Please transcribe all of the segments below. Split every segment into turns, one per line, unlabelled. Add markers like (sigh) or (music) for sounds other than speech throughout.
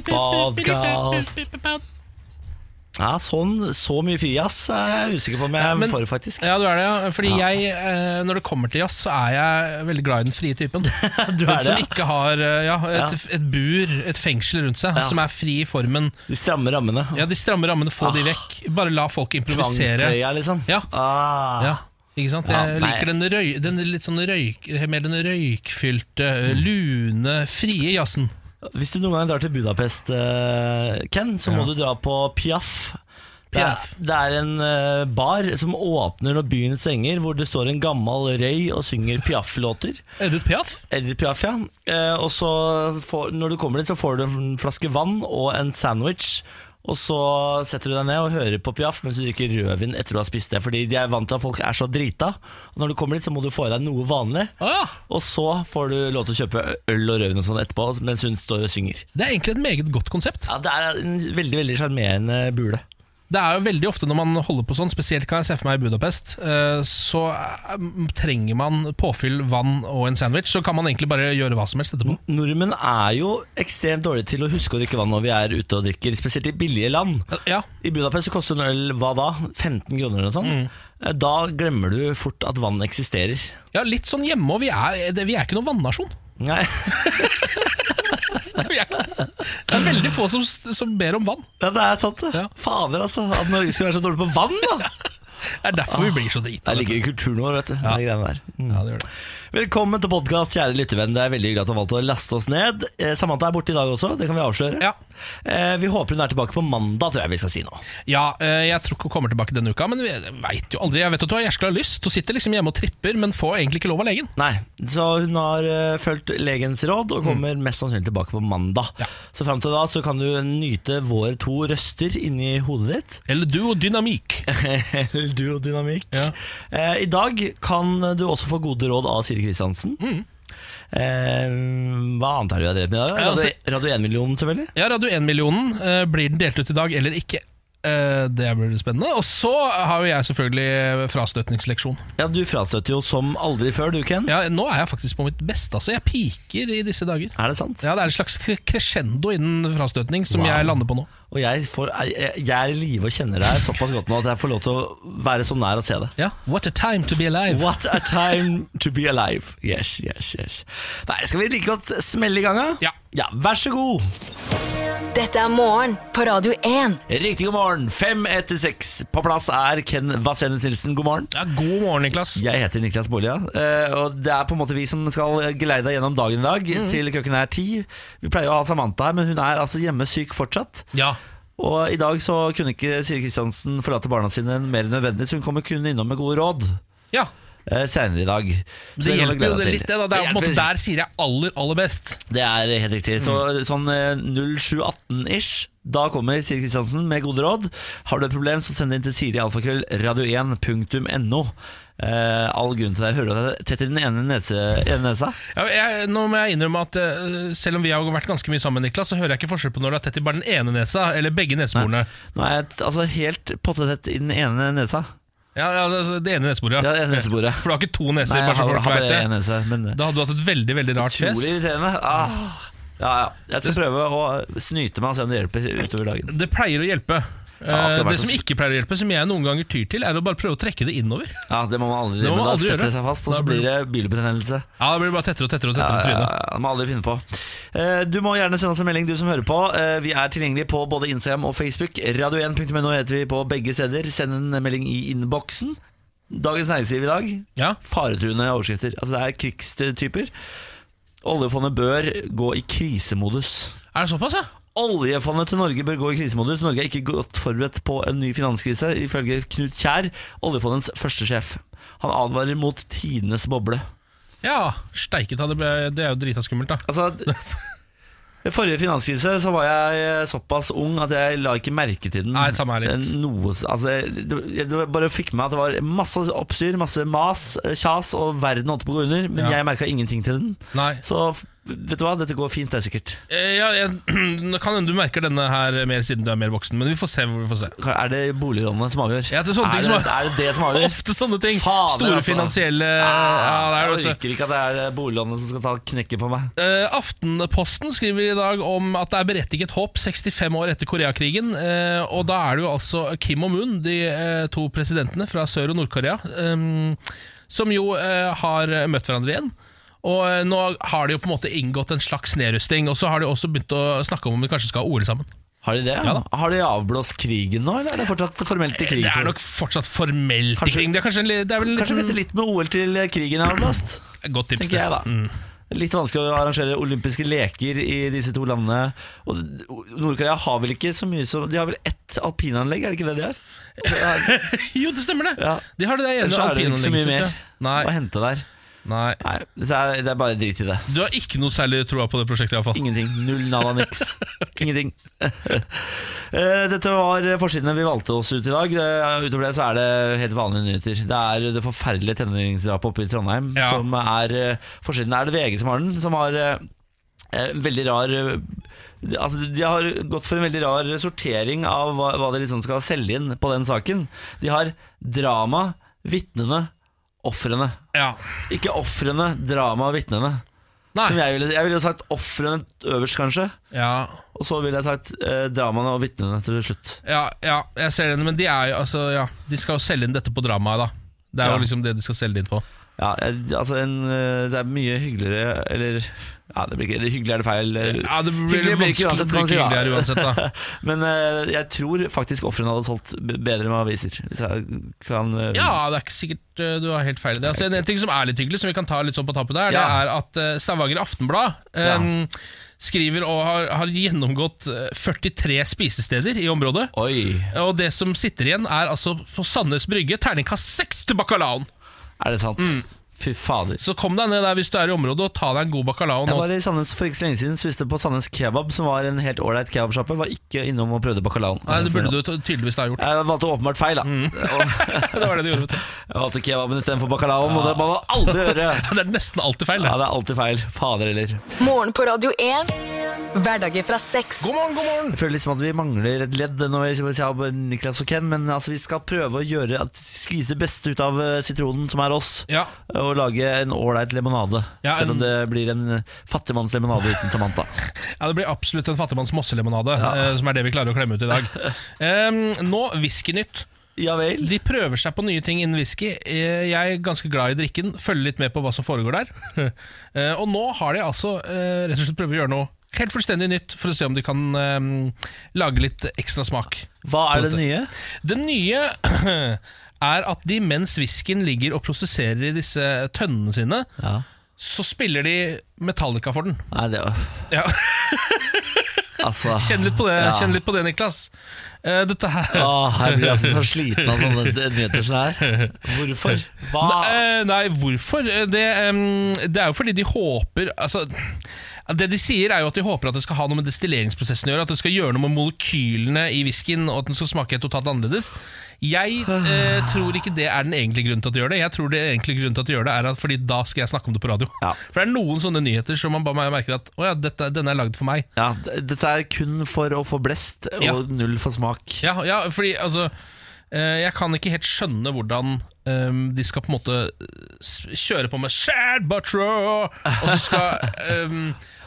Podkast Ja, sånn, så mye fyjas er jeg usikker på om jeg
men-
får, faktisk.
Ja, du er det, ja. Fordi jeg, eh, når det kommer til jazz, så er jeg veldig glad i den frie typen.
(laughs) Du
Den
er
som
det, ja.
ikke har eh, ja, et, et bur, et fengsel rundt seg,
Ja.
som er fri i formen.
De stramme rammene.
Ja, De stramme rammene, få de vekk. Bare la folk improvisere.
Tvangstrøya, liksom.
Ja.
Ah.
Ja, ikke sant?
Ja,
Jeg
nei.
liker den, røy, den litt sånn røyk, mer den røykfylte,
Mm.
lune, frie jazzen.
Hvis du noen gang drar til Budapest, eh, Ken, så må du dra på Piaf. Det er,
Piaf.
det er en eh, bar som åpner når byen stenger, hvor det står en gammel røy og synger Piaf-låter.
Edith Piaf?
Edith Piaf, ja. Eh, og så får, når du kommer dit, så får du en flaske vann og en sandwich. Og så setter du deg ned og hører på Piaf mens du drikker rødvin etter du har spist det. Fordi de er vant til at folk er så drita. Og når du kommer dit, så må du få i deg noe vanlig.
Ah,
Og så får du lov til å kjøpe øl og rødvin og sånn etterpå mens hun står og synger.
det er egentlig et meget godt konsept.
Ja, Det er en veldig veldig sjarmerende bule.
Det er jo veldig ofte når man holder på sånn, spesielt kan jeg se for meg i Budapest, eh, så eh, trenger man påfyll, vann og en sandwich, så kan man egentlig bare gjøre hva som helst etterpå.
Nordmenn er jo ekstremt dårlige til å huske å drikke vann når vi er ute og drikker, spesielt i billige land.
Ja,
I Budapest så koster en øl hva da? 15 kroner eller noe sånt.
Mm.
Eh, Da glemmer du fort at vann eksisterer.
ja litt sånn hjemme, og vi er, det- vi er ikke noen vannnasjon.
Nei,
(laughs)
(laughs)
Vi er ikke det. Det er veldig få som, som ber om vann.
ja, det er sant det.
Ja.
Fader, altså. At Norge skulle være så dårlig på vann,
(laughs)
da.
Det er derfor vi blir så drita.
Det ligger i kulturen vår, vet du. de greiene der. Mm.
Ja, det gjør det.
Velkommen til podkast, kjære lyttervenn. Det er veldig hyggelig at du har valgt å laste oss ned. Eh, Samantha er borte i dag også, det kan vi avsløre.
Ja.
Eh, Vi håper hun er tilbake på mandag, tror jeg vi skal si nå.
Ja, eh, jeg tror ikke hun kommer tilbake denne uka, men vi veit jo aldri. Jeg vet at hun jæskla har lyst. Hun sitter liksom hjemme og tripper, men får egentlig ikke lov av legen.
Nei, så hun har eh, fulgt legens råd og kommer mest sannsynlig tilbake på mandag.
Mm. Ja.
Så fram til da så kan du nyte våre to røster inni hodet ditt.
Eller duo dynamikk.
Eller (laughs) duodynamikk.
Ja.
Eh, I dag kan du også få gode råd av Siri Kristiansen.
Mm.
Eh, hva annet er det du har drevet med i dag?
Ja, altså-
Radio, Radio 1-millionen, selvfølgelig.
Ja, Radio 1-millionen. eh, blir den delt ut i dag eller ikke? Eh, det blir spennende. Og så har jo jeg selvfølgelig frastøtningsleksjon.
Ja, Du frastøter jo som aldri før, du, Ken.
Ja, nå er jeg faktisk på mitt beste. Altså. Jeg piker i disse dager.
Er det sant?
Ja, Det er et slags cre- crescendo innen frastøtning som
Wow.
jeg lander på nå.
Og jeg, får, jeg, jeg er i live og kjenner deg såpass godt nå at jeg får lov til å være så nær og se det.
Ja, What a time to be alive.
What a time to be alive. Yes, yes, yes. Nei, skal vi like godt smelle i gang, da?
Ja.
ja. Vær så god.
Dette er morgen på Radio 1.
Riktig god morgen. Fem etter seks. På plass er Ken Vasenus Nilsen. God morgen.
Ja, God morgen, Niklas.
Jeg heter Niklas Bolia, eh, og det er på en måte vi som skal geleide deg gjennom dagen i dag
Mm.
til klokken er ti. Vi pleier å ha Samantha her, men hun er altså hjemmesyk fortsatt.
Ja,
Og i dag så kunne ikke Siri Kristiansen forlate barna sine mer enn nødvendig, så hun kommer kun innom med gode råd
ja.
eh, senere i dag. Så kan
Det
du
hjelper jo
glede deg
litt, det.
til.
da Det er på en måte
hjelper.
Der sier jeg aller, aller best.
Det er helt riktig. Så
Mm.
sånn eh, 0718-ish, da kommer Siri Kristiansen med gode råd. Har du et problem, så send det inn til sirialfakrøllradio1.no. Eh, all grunn til det. Hører du at jeg tetter den ene, nese, ene nesa?
Ja, jeg, nå må jeg innrømme at eh, Selv om vi har vært ganske mye sammen, Niklas så hører jeg ikke forskjell på når du er tett i bare den ene nesa eller begge neseborene.
Nå er jeg t- altså helt pottetett i den ene nesa.
Ja, ja, det- det ene neseboret,
Ja,
ja.
det ene neseboret.
For du har ikke to neser,
Nei, jeg
bare så
har,
folk
har
vet
bare én
det.
nese, men
Da hadde du hatt et veldig veldig rart fjes.
utrolig irriterende. Ah. Ja, ja. Jeg skal prøve å snyte meg og se om det hjelper utover dagen.
Det pleier å hjelpe.
Ja,
Eh,
det har vært
det som
noe-
ikke pleier å hjelpe, som jeg noen ganger tyr til, er å bare prøve å trekke det innover.
Ja, Det må man aldri
Det
gjøre.
må
men
man
Da
aldri
setter det
gjøre.
seg fast, og
Da
så
blir-
blir det bilbetennelse.
Ja, Det blir bare tettere og tettere og tettere i
Ja,
trynet.
ja, må aldri finne på. Eh, Du må gjerne sende oss en melding, du som hører på. Eh, Vi er tilgjengelige på både Instagram og Facebook. Radio1.no heter vi på begge steder. Send en melding i innboksen. Dagens Næringsliv i dag.
Ja.
Faretruende overskrifter. Altså Det er krigstyper. Oljefondet bør gå i krisemodus.
Er det såpass, ja?
Oljefondet til Norge bør gå i krisemodus. Norge er ikke godt forberedt på en ny finanskrise, ifølge Knut Kjær, oljefondets første sjef. Han advarer mot tidenes boble.
Ja, Steiket hadde ble- Det er jo drita skummelt, da.
Altså i Forrige finanskrise så var jeg såpass ung at jeg la ikke merke til den.
Nei, samme her litt.
Noe, altså, jeg, det bare fikk meg at det var masse oppstyr, masse mas, kjas, og verden holdt på å gå under. Men
Ja.
jeg merka ingenting til den.
Nei.
Så f- Vet du hva, dette går fint, det er sikkert.
Eh, Ja, jeg, (clears throat) nå kan hende du merker denne her mer siden du er mer voksen, men vi får se. hvor vi får se
Er det boliglånene som avgjør?
Ja, det er sånne ting
det,
som
er det det som avgjør?
Ofte sånne ting.
Fader,
Store
altså.
finansielle
Ah,
ja, det er,
jeg
det, vet du.
orker ikke at det er boliglånene som skal ta knekken på meg.
Eh, Aftenposten skriver i dag om at det er berettiget håp 65 år etter Koreakrigen. eh, og da er det jo altså Kim og Moon, de eh, to presidentene fra Sør- og Nord-Korea, eh, som jo eh, har møtt hverandre igjen. Og eh, nå har de jo på en måte inngått en slags nedrusting, og så har de også begynt å snakke om om de kanskje skal ha OL sammen.
Har de det?
Ja da.
har de avblåst krigen nå, eller er det fortsatt formelt i krig?
Det
tror du?
er nok fortsatt formelt
Kanskje-
i krig. Det er kanskje en, li- det er vel en
Kanskje
liten-
vente litt med OL til krigen er avblåst,
Godt tips.
tenker
det. Mm.
jeg da. Litt vanskelig å arrangere olympiske leker i disse to landene. Og Nord-Korea har vel ikke så mye som De har vel ett alpinanlegg, er det ikke det de har?
(laughs) Jo, det stemmer det!
Ja.
De har det der ene
Ellers er det ikke så mye
alpinanlegget
mer
sitt, ja.
å
Nei,
hente der.
nei.
Nei, så er- det er bare drit i det.
Du har ikke noe særlig troa på det prosjektet, iallfall.
Ingenting. Null, nada, niks. Ingenting. (laughs) Eh, Dette var forsidene vi valgte oss ut i dag. Eh, Utover det så er det helt vanlige nyheter. Det er det forferdelige tenåringsdrapet oppe i Trondheim.
Ja.
Som er eh, forsiden. Er det VG som har den? Som har eh, eh, veldig rar eh, Altså, De har gått for en veldig rar sortering av hva, hva de liksom skal selge inn på den saken. De har drama, vitnene, ofrene.
Ja.
Ikke ofrene, drama, vitnene. Som
Nei.
jeg ville, jeg ville jo sagt ofrene øverst, kanskje.
Ja,
Og så ville jeg sagt eh, dramaene og vitnene til slutt.
ja, ja, jeg ser den, men de er jo altså Ja, de skal jo selge inn dette på dramaet, da. Det er
Ja.
jo liksom det de skal selge det inn på.
Ja, eh, altså en, eh, Det er mye hyggeligere Eller ja, det blir ikke, det hyggelig er det feil. eh,
Ja, det blir
hyggelig blir ikke
vanskelig-
uansett,
det
kan
blir
man si,
ikke
da.
hyggeligere uansett, da.
(laughs) Men eh, jeg tror faktisk ofrene hadde solgt b- bedre med aviser. Hvis jeg kan eh,
Ja, det er ikke sikkert uh, du har helt feil i det. Altså, en ting som er litt hyggelig, som vi kan ta litt sånn på tappet der, det
Ja.
er at uh, Stavanger Aftenblad
Ja.
um, skriver og har, har gjennomgått uh, 43 spisesteder i området.
Oi!
Og det som sitter igjen, er altså på Sandnes Brygge terningkast 6 til bacalaoen!
Er det sant?
Mm.
Fy fader.
Så kom deg ned der hvis du er i området, og ta deg en god bacalao
Jeg
nå.
var i Sandnes for ikke så lenge siden spiste på Sandnes Kebab, som var en helt ålreit kebabsjappe. Var ikke innom og prøvde bacalaoen.
Nei, det burde du Mm. t- tydeligvis da ha (laughs) gjort.
Jeg valgte åpenbart feil, da. (laughs)
(laughs) det var det du gjorde, vet du.
Jeg valgte kebaben istedenfor bacalaoen, og det må man aldri gjøre.
Ja, det er nesten alltid feil, det.
Ja, det er alltid feil. Fader heller.
Morgen på Radio 1. Hverdager fra seks.
God morgen, god morgen!
Jeg føler liksom at vi mangler et ledd når vi sier ja, bare Niklas og Ken, men altså, vi skal prøve å gjøre at skvise det beste ut av eh, sitronen, som er oss,
Ja,
og lage en ålreit lemonade.
Ja,
Selv
en-
om det blir en eh, fattigmannslemonade uten
(laughs)
Samantha.
Ja, Det blir absolutt en fattigmanns mosselemonade, eh, som er det vi klarer å klemme ut i dag. Em, nå Whiskynytt.
Ja vel?
De prøver seg på nye ting innen whisky. Eh, Jeg er ganske glad i drikken, følger litt med på hva som foregår der. (laughs) Eh, Og nå har de altså eh, rett og slett prøvd å gjøre noe helt fullstendig nytt, for å se om de kan em, lage litt ekstra smak.
Hva er det nye?
Det nye (clears throat) er at de mens whiskyen ligger og prosesserer i disse tønnene sine,
Ja.
så spiller de Metallica for den.
Nei, det
Ja,
(laughs) Altså
Kjenn litt på det,
Ja.
kjenn litt på det Niklas. Eh, Dette her
Åh, jeg blir altså så sliten av sånne nyheter som det
(laughs)
her. Hvorfor? Hva?
Eh, Nei, hvorfor? Eh, Det, em, det er jo fordi de håper Altså det de sier er jo at de håper at det skal ha noe med destilleringsprosessen å gjøre. At det skal gjøre noe med molekylene i whiskyen, og at den skal smake totalt annerledes. Jeg eh, tror ikke det er den egentlige grunnen til at de gjør det. Jeg tror det egentlige grunnen til at de gjør det er at fordi da skal jeg snakke om det på radio.
Ja.
For det er noen sånne nyheter som man bare merker at Å ja, dette, denne er lagd for meg.
Ja, d- dette er kun for å få blest, og
Ja.
null for smak.
Ja, ja fordi altså eh, Jeg kan ikke helt skjønne hvordan eh, de skal på en måte eh, s- kjøre på med Sad but raw, og så skal eh,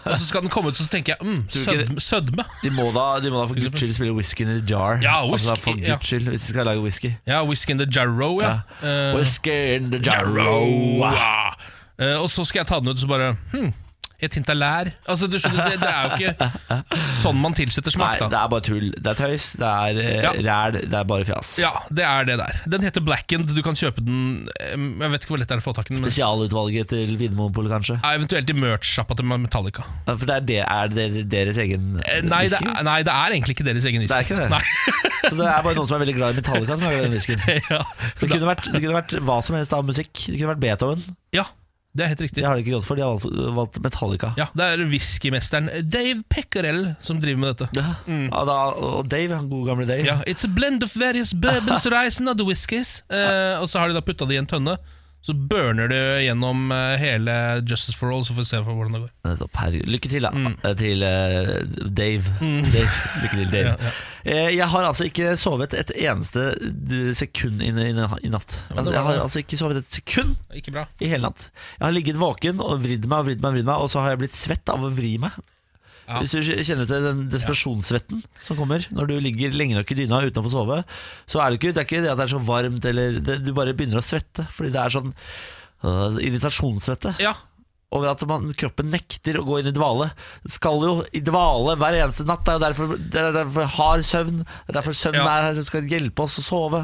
Og så skal den komme ut, og så tenker jeg mm,
Tror du ikke
sødme, sødme.
De må da, de må da for guds skyld spille whisky in a jar.
Ja,
altså,
whisky,
for
ja.
guds skyld, hvis de skal lage whisky.
Ja, Whisky in the jarro, ja. Eh,
Whisky in the
jarro.
jar.
ja. Eh, og så skal jeg ta den ut, så bare hm, Et hint av lær. Altså, du skjønner, det, det er jo ikke sånn man tilsetter
Nei,
smak, da.
det er bare tull. Det er tøys, det er eh,
Ja.
ræl, det er bare fjas.
Ja, det er det der. Den heter Blackened. Du kan kjøpe den eh, Jeg vet ikke hvor lett det er å få tak i den. Men,
Spesialutvalget til Vinmonopolet, kanskje?
Ja, eventuelt i merch-sjappa til Metallica.
Ja, For det er, det, er det deres egen
Eh, Nei, det,
whisky?
er- nei, det er egentlig ikke deres egen whisky.
Det er ikke det.
Nei. (laughs)
Så det er bare noen som er veldig glad i Metallica som lager den whiskyen.
ja.
Det kunne, vært, det kunne vært hva som helst av musikk. Det kunne vært Beethoven.
ja, det er helt
Det
riktig.
har de ikke gått for, de har valgt, valgt Metallica.
Ja, Det er whiskymesteren Dave Peckerell som driver med dette.
Ja. Ja, da, og Dave, han gode gamle Dave. (laughs)
Ja, It's a blend of various bourbons, rice and other whiskies. Eh, og så har de da putta det i en tønne. Så burner du gjennom eh, hele Justice for All, så får vi se for hvordan det går.
Nettopp. Herregud. Lykke til, da.
Mm.
Eh, Til eh, Dave. (laughs) Dave. Lykke til, Dave.
(laughs) Ja, ja.
Eh, Jeg har altså ikke sovet et eneste d- sekund i i- i natt.
men
Altså,
det
jeg
var-
har altså ikke sovet et sekund
Ikke bra.
i hele natt. Jeg har ligget våken og vridd meg og vridd meg, og vridd meg og så har jeg blitt svett av å vri meg.
Ja.
Hvis du kjenner til den desperasjonssvetten som kommer når du ligger lenge nok i dyna uten å få sove, så er det ikke det, er ikke det at det er så varmt, eller det, du bare begynner å svette. Fordi det er sånn øh, irritasjonssvette
Ja,
over at man, kroppen nekter å gå inn i dvale. Skal jo i dvale hver eneste natt. Det er jo derfor, det er derfor hard søvn. Det er derfor søvn
Ja.
er her som skal hjelpe oss å sove.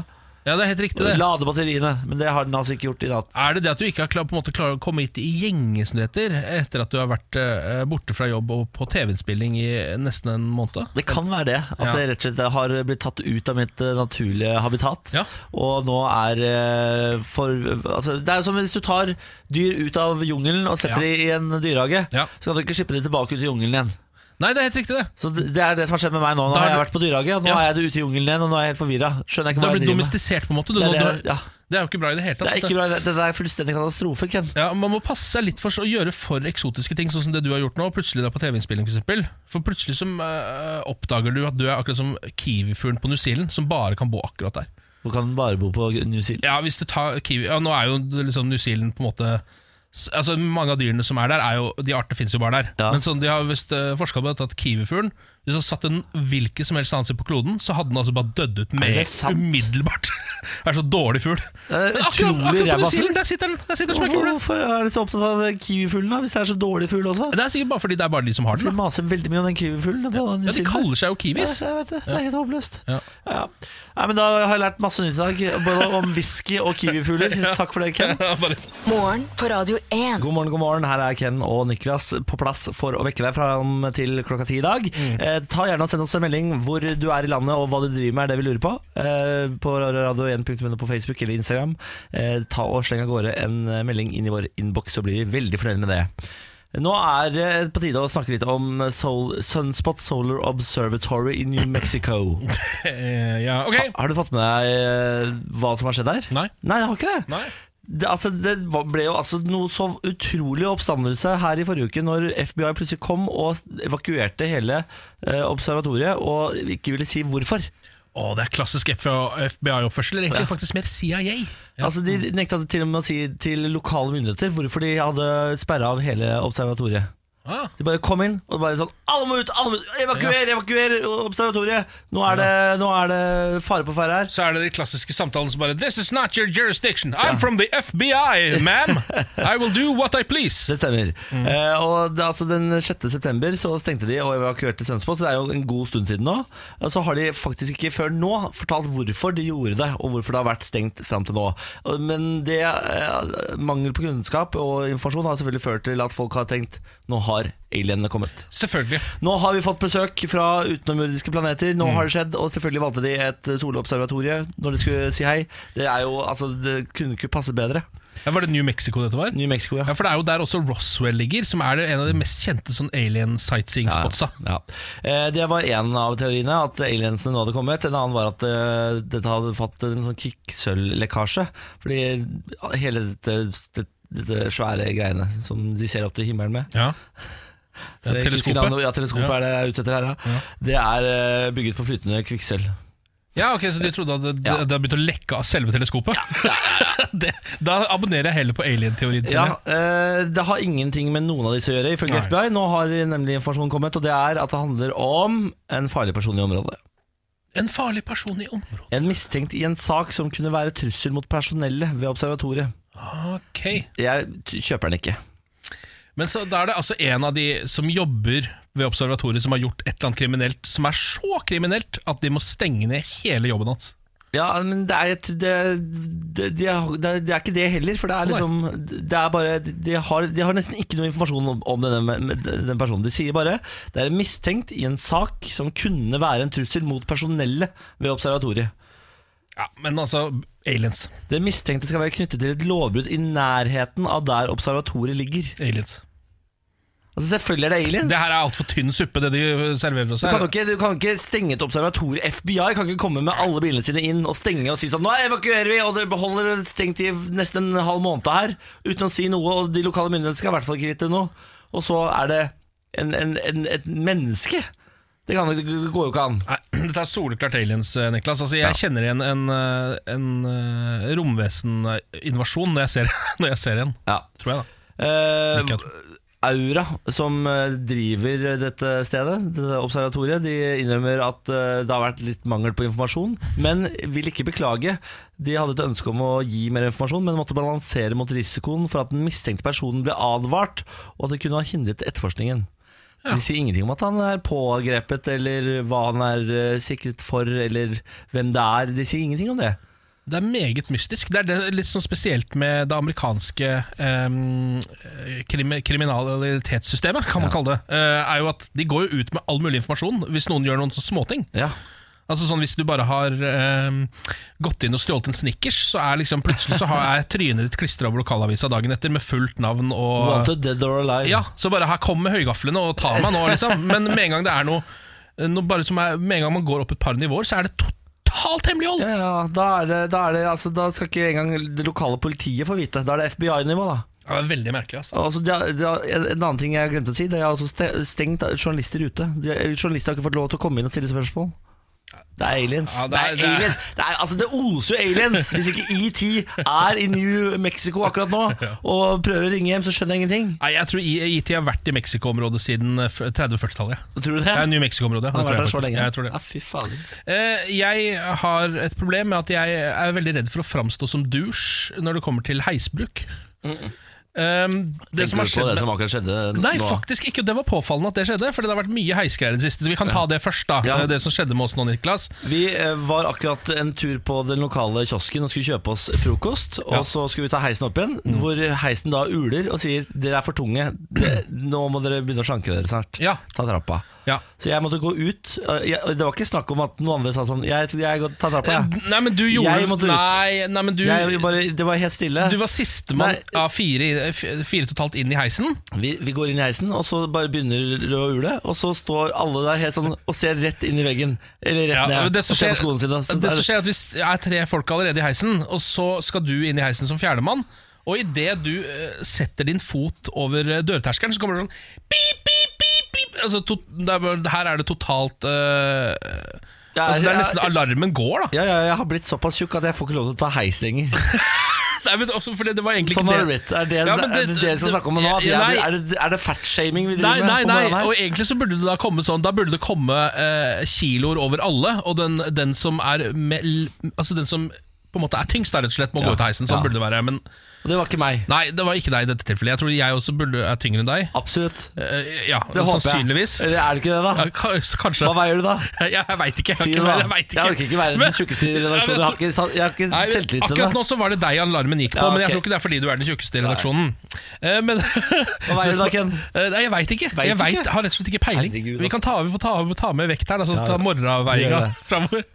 ja det er helt riktig, det.
Lade batteriene. Men det har den altså ikke gjort i natt.
Er det det at du ikke har klar, på en måte klarer å komme hit i gjengesnyheter etter at du har vært eh, borte fra jobb og på TV-innspilling i nesten en måned?
Det kan være det. At
Ja.
det rett og slett har blitt tatt ut av mitt eh, naturlige habitat.
Ja.
Og nå er eh, for altså, Det er jo som hvis du tar dyr ut av jungelen og setter
Ja.
dem i en dyrehage.
Ja.
Så kan du ikke slippe dem tilbake ut i jungelen igjen.
Nei, det er helt riktig, det.
Så det det er det som har skjedd med meg nå. Nå
Da
har
har
jeg
du-
vært på dyrehage, og nå
Ja.
er jeg det ute i jungelen igjen, og nå er jeg helt forvirra. Skjønner jeg ikke hva
Du har
jeg
blitt
driver med.
domestisert, på en måte. Du,
Det er
nå-
det-
du har-
ja.
det er jo ikke bra i det hele tatt.
Det er ikke bra, det det er fullstendig katastrofe, Ken.
Ja, Man må passe seg litt for å gjøre for eksotiske ting, sånn som det du har gjort nå. Plutselig da på TV-innspilling, for eksempel. For plutselig så eh, oppdager du at du er akkurat som kiwifuglen på New Zealand, som bare kan bo akkurat der.
Du kan bare bo på New Zealand.
Ja, hvis du tar kiwi ja, Nå er jo liksom New Zealand på en måte s- Altså Mange av dyrene som er der, er jo de artene finnes jo bare der.
Ja.
Men sånn, de har visst uh, forska på dette at kiwifuglen Hvis du satt en hvilken som helst annen sted på kloden, så hadde den altså bare dødd ut
det
med
sant?
umiddelbart. (laughs) det er så dårlig fugl.
er
Men Akkurat,
utrolig
akkurat
ræva
på New
fugl.
Zealen, der sitter den! Der sitter den som en
Hvorfor,
kule.
hvorfor er de så opptatt av den kiwifuglen, da, hvis det er så dårlig fugl også?
Det er sikkert bare fordi det er bare de som har
De
den. da
maser veldig mye om den kiwifuglen. på New
Ja, De
Zealand.
kaller seg jo kiwis.
Ja, jeg vet det. Det er helt håpløst.
Ja.
Ja. Nei, men da har jeg lært masse nytt i dag, både om whisky og (laughs) kiwifugler. Takk for det, Ken.
(laughs) Bare-
Morgen på Radio 1.
God morgen, god morgen. Her er Ken og Niklas på plass for å vekke deg fram til klokka ti i dag. Eh, ta gjerne og Send oss en melding hvor du er i landet og hva du driver med, er det vi lurer på. Eh, på radio1.no på Facebook eller Instagram. Eh, ta og Sleng av gårde en eh, melding inn i vår innboks, så blir vi veldig fornøyd med det. Nå er det på tide å snakke litt om Sol Sunspot Solar Observatory i New Mexico.
Eh, ja, ok.
Har du fått med deg eh, hva som har skjedd der?
Nei.
Nei, jeg har ikke det.
Nei.
Det, altså, det var- ble jo altså noe så utrolig oppstandelse her i forrige uke når FBI plutselig kom og evakuerte hele eh, observatoriet og ikke ville si hvorfor.
Å, det er klassisk FBI-oppførsel. Egentlig faktisk mer CIA. Ja.
Altså, de nekta til og med å si til lokale myndigheter hvorfor de hadde sperra av hele observatoriet.
Ah.
De bare kom inn og bare sånn Alle må ut! alle må ut, Evakuer! Evakuer observatoriet! Nå er, det, nå er det fare på ferde her.
så er det de klassiske samtalene som bare This is not your jurisdiction. I'm from the FBI, ma'am. I will do what I please.
Det stemmer. Eh, og det, altså, den 6. september så stengte de og evakuerte Sønsbo, så det er jo en god stund siden nå. Og så har de faktisk ikke før nå fortalt hvorfor de gjorde det, og hvorfor det har vært stengt fram til nå. Og- Men det eh, mangel på kunnskap og informasjon har selvfølgelig ført til at folk har tenkt nå har alienene kommet.
Selvfølgelig.
Nå har vi fått besøk fra utenomjordiske planeter. Nå har det skjedd, og selvfølgelig valgte de et solobservatorie når de skulle si hei. Det er jo, altså, det kunne ikke passe bedre.
Ja, var det New Mexico dette var?
New Mexico, ja.
Ja, For det er jo der også Roswell ligger, som er det- en av de mest kjente sånn alien sightseeing-spotsa.
Ja. Eh, Det var en av teoriene, at aliensene nå hadde kommet. En annen var at eh, dette hadde fått en sånn kvikksølvlekkasje. Fordi hele dette, dette, dette svære greiene som de ser opp til himmelen med
Ja.
Så jeg husker
teleskopet.
navnet- Ja, teleskopet
Ja.
er det jeg er ute etter her. Ja. Det er eh, bygget på flytende kvikksølv.
ja, ok, Så de trodde at det,
Ja.
det hadde begynt å lekke av selve teleskopet? (laughs) det, da abonnerer jeg heller på alien-teorien. til
Ja,
det.
eh, Det har ingenting med noen av disse å gjøre, ifølge
Nei.
FBI. Nå har nemlig informasjonen kommet, og det er at det handler om en farlig person i området.
En farlig person i området.
En mistenkt i en sak som kunne være trussel mot personellet ved observatoriet.
Ok
Jeg t- kjøper den ikke.
Men så da er det altså en av de som jobber ved observatoriet som har gjort et eller annet kriminelt, som er så kriminelt at de må stenge ned hele jobben hans.
Ja, men det er, et- det, det, det, er- det, er- det er ikke det heller, for det er liksom Det er bare De har, de har nesten ikke noe informasjon om, om denne, med den personen. De sier bare det er mistenkt i en sak som kunne være en trussel mot personellet ved observatoriet.
Ja, Men altså, aliens.
Det mistenkte skal være knyttet til et lovbrudd i nærheten av der observatoriet ligger.
Aliens.
Altså Selvfølgelig er det aliens.
Det her er altfor tynn suppe, det de serverer oss
Du kan,
her.
jo ikke, du kan ikke stenge et observator. FBI kan ikke komme med alle bilene sine inn og stenge og si sånn Nå evakuerer vi, og det beholder det stengt i nesten en halv måned her. Uten å si noe, og de lokale myndighetene skal i hvert fall ikke vite noe. Og så er det en, en, en, et menneske. Det, kan, det går jo ikke an.
Nei, (clears throat) Dette er soleklart aliens, eh, Niklas. Altså, jeg kjenner igjen en, eh, en, eh, romveseninvasjon når jeg ser, (laughs) når jeg ser en.
Ja.
Tror jeg, da.
Eh,
Ikke at-
Aura, som eh, driver dette stedet, dette observatoriet, de innrømmer at eh, det har vært litt mangel på informasjon, men vil ikke beklage. De hadde et ønske om å gi mer informasjon, men måtte balansere mot risikoen for at den mistenkte personen ble advart, og at det kunne ha hindret etterforskningen. De sier ingenting om at han er pågrepet, eller hva han er eh, sikret for, eller hvem det er. De sier ingenting om det.
Det er meget mystisk. Det er det, litt sånn spesielt med det amerikanske eh, krim, kriminalitetssystemet, kan man kalle det. Eh, er jo at De går jo ut med all mulig informasjon hvis noen gjør noen sånne småting.
Ja.
Altså sånn Hvis du bare har eh, gått inn og stjålet en Snickers, så er liksom plutselig så har jeg trynet ditt klistra over lokalavisa dagen etter med fullt navn og
Wanted dead or alive.
ja, så bare her kom med høygaflene og ta meg nå, liksom. Men med en gang det er noe, noe bare som er, Med en gang man går opp et par nivåer, så er det totalt hemmelighold!
Ja, ja, da, er det, da, er det, altså, da skal ikke engang det lokale politiet få vite. Da er det FBI-nivå, da.
Ja, det er veldig merkelig, altså.
Altså, det, er- det, er- en annen ting jeg glemte å si, det er altså ste- stengt journalister ute. De, eh, journalister har ikke fått lov til å komme inn og stille spørsmål. Det er aliens.
Ja, det
det,
er-
er,
det er-
aliens. Det, er, altså, det oser jo aliens! Hvis ikke ET er i New Mexico akkurat nå og prøver å ringe hjem, så skjønner jeg ingenting.
Nei, Jeg tror I- IT har vært i Mexico-området siden eh, f- 30-40-tallet.
Tror du det?
Det er New Mexico-området.
Han
det
har vært
tror
der så
jeg faktisk.
lenge.
Ja, Jeg, tror det.
Ja, fy fader.
Eh, jeg har et problem med at jeg er veldig redd for å framstå som douche når det kommer til heisbruk. Um, det som
Tenker du på
har skjedd
det som akkurat skjedde nå?
Nei, faktisk ikke. Det var påfallende at det skjedde, Fordi det har vært mye heisgreier i det siste. Så vi kan ta det først, da.
Ja.
eh, Det som skjedde med oss nå, Niklas.
Vi eh, var akkurat en tur på den lokale kiosken og skulle kjøpe oss frokost.
Ja. Mm.
Og så skulle vi ta heisen opp igjen, hvor heisen da uler og sier 'dere er for tunge', det, 'nå må dere begynne å slanke dere snart'.
Ja.
Ta trappa.
Ja.
Så jeg måtte gå ut. eh, Jeg, det var ikke snakk om at noen andre sa sånn 'jeg, jeg går, ta trappa', jeg.
Nei, men du gjorde
Jeg måtte ut.
Nei, nei men du
jeg bare, det var helt stille.
Du var sistemann
Nei.
av fire, i- f- fire totalt inn i heisen.
Vi, vi går inn i heisen, og så bare begynner det å ule. Og så står alle der helt sånn og ser rett inn i veggen. Eller rett
Ja,
ned.
det som
og ser
skjer,
på skoene sine. Så
det
der-
som skjer er at Hvis det er tre folk allerede i heisen, og så skal du inn i heisen som fjerdemann, og idet du eh, setter din fot over eh, dørterskelen, så kommer det sånn pip, pip, pip, pip. Altså, to, det er, bare- Her er det totalt eh,
Ja,
altså,
ja,
Det er nesten alarmen går, da.
ja, ja, jeg har blitt såpass tjukk at jeg får ikke lov til å ta heis lenger.
(laughs) Nei, men også fordi det var egentlig
Sånn
ikke
har det blitt. Er det
Ja, men
er det dere skal snakke om nå? At jeg,
Nei.
er det, er det fatshaming vi
Nei,
driver
nei,
med? på
nei,
morgenen her?
og egentlig så burde det da komme sånn Da burde det komme eh, kiloer over alle Og den, den som er med, Altså den som på en måte er tyngst der rett og slett Må
Ja,
gå ut av heisen, sånn
ja.
burde det være Men
Og Det var ikke meg.
nei, det var ikke deg i dette tilfellet Jeg tror jeg også burde er tyngre enn deg
Absolutt. Det
Eh, Ja,
håper jeg.
sannsynligvis ja,
Eller er det ikke det, da?
ka- Kanskje
Hva veier du, da?
ja, (laughs) Jeg vet ikke Jeg, har
Si
ikke-
det, da.
jeg vet ikke.
orker ikke være
Men-
den tjukkeste i
(laughs) Nei, men
redaksjonen. Jeg har ikke, sa- jeg har ikke
Nei, men
selvtillit til
akkurat
det.
nå så var det deg alarmen gikk på,
Ja,
men jeg
ok.
tror ikke det er fordi du er den tjukkeste i redaksjonen. Eh, Men, Hva
veier du da,
(laughs)
Ken?
Nei, jeg veit ikke.
Vet
jeg vet,
ikke?
har rett og slett ikke peiling.
Herregud,
vi kan ta, vi får ta, ta med vekt her, da, så ta
Gjør
morgenavveiinga
det.
framover.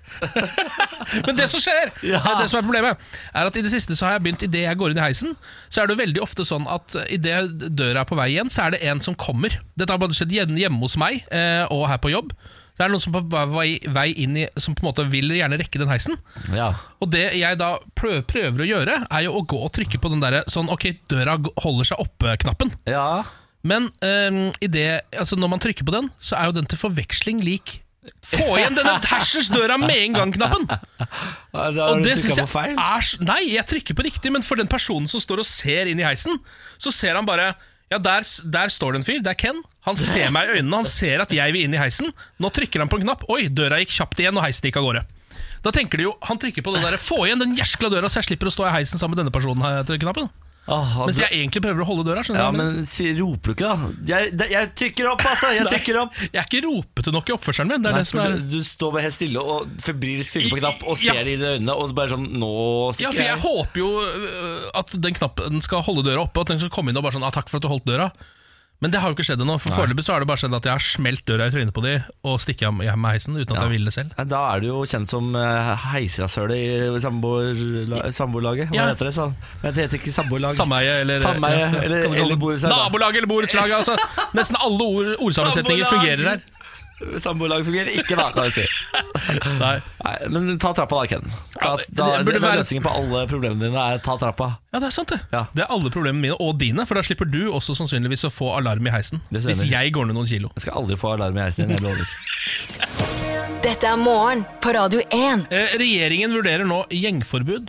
(laughs) men det som skjer,
(laughs) Ja.
eh, det som er problemet, er at i det siste så har jeg begynt Idet jeg går inn i heisen, så er det jo veldig ofte sånn at idet døra er på vei igjen, så er det en som kommer. Dette har bare skjedd hjemme hjemme hos meg eh, og her på jobb. Det er noen som på vei, vei inn i, som på en måte vil gjerne rekke den heisen.
Ja.
Og det jeg da prøver, prøver å gjøre, er jo å gå og trykke på den derre sånn ok, døra g- holder seg oppe-knappen.
ja.
Men øhm, i det, altså når man trykker på den, så er jo den til forveksling lik få igjen denne hersens døra med en gang-knappen!
Ja, Da
Og
har du
det syns
trykka
jeg Ah,
på feil.
er s- Nei, jeg trykker på riktig, men for den personen som står og ser inn i heisen, så ser han bare Ja, der, s- der står det en fyr. Det er Ken. Han ser meg i øynene, han ser at jeg vil inn i heisen. Nå trykker han på en knapp. Oi, døra gikk kjapt igjen, og heisen gikk av gårde. Da tenker de jo, Han trykker på det der, få igjen den jæskla døra, så jeg slipper å stå i heisen sammen med denne personen. her, trykker knappen.
Åh,
Mens
altså-
jeg egentlig prøver å holde døra. skjønner
ja,
du?
men si, roper du ikke, da? Jeg, det- jeg trykker opp, altså! Jeg trykker opp.
Jeg er ikke ropete nok i oppførselen min. Det er
Nei,
det som
for
er
du, du står bare helt stille og febrilsk trykker på
I- i-
knapp og
ja.
ser det inn i øynene og bare sånn Nå
ja,
stikker
for jeg håper jo øh, at den knappen skal holde døra oppe, og at den skal komme inn og bare sånn ah, 'takk for at du holdt døra'. Men det har jo ikke skjedd ennå. For Foreløpig så har det bare skjedd at jeg har smelt døra i trynet på de og stikket av med heisen uten at jeg ville det selv.
Nei, Da er du jo kjent som eh, heisrasshølet i samboerla- samboerlaget. Hva
Ja.
heter det? Sam- Men det heter ikke samboerlag.
Sameie eller,
Sameie,
ja, ja,
eller-
kan vi kalle
eller
det.
borettslag, da.
Nabolag eller borettslag. Altså. Nesten alle ord, ordsammensetninger
Samboerlag!
fungerer her.
Samboerlag fungerer ikke, da, kan jeg si.
Nei.
Nei, men ta trappa da, Ken. Ta,
Ja, det-
da,
det
det
burde
det er
være-
løsningen på alle problemene dine er ta trappa.
Ja, det er sant, det.
Ja.
Det er alle problemene mine og dine, for da slipper du også sannsynligvis å få alarm i heisen.
Det stemmer.
Hvis jeg går ned noen kilo.
Jeg skal aldri få alarm i heisen igjen, jeg lover.
Dette er morgen på Radio 1.
Eh, regjeringen vurderer nå gjengforbud.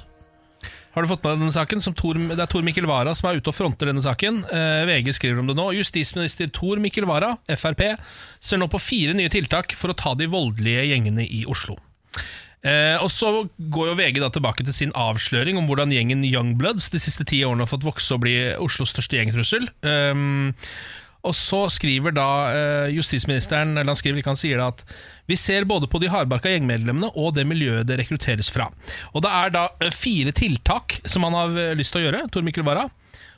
Har du fått med deg denne saken? Som Tor, det er Tor Mikkel Wara som er ute og fronter denne saken. Eh, VG skriver om det nå. Justisminister Tor Mikkel Wara, Frp, ser nå på fire nye tiltak for å ta de voldelige gjengene i Oslo. Eh, og så går jo VG da tilbake til sin avsløring om hvordan gjengen Youngbloods de siste ti årene har fått vokse og bli Oslos største gjengtrussel. Um, og så skriver da eh, justisministeren eller han skriver ikke, han sier da at vi ser både på de hardbarka gjengmedlemmene og det miljøet det rekrutteres fra. Og det er da eh, fire tiltak som han har eh, lyst til å gjøre, Tor Mikkel Wara,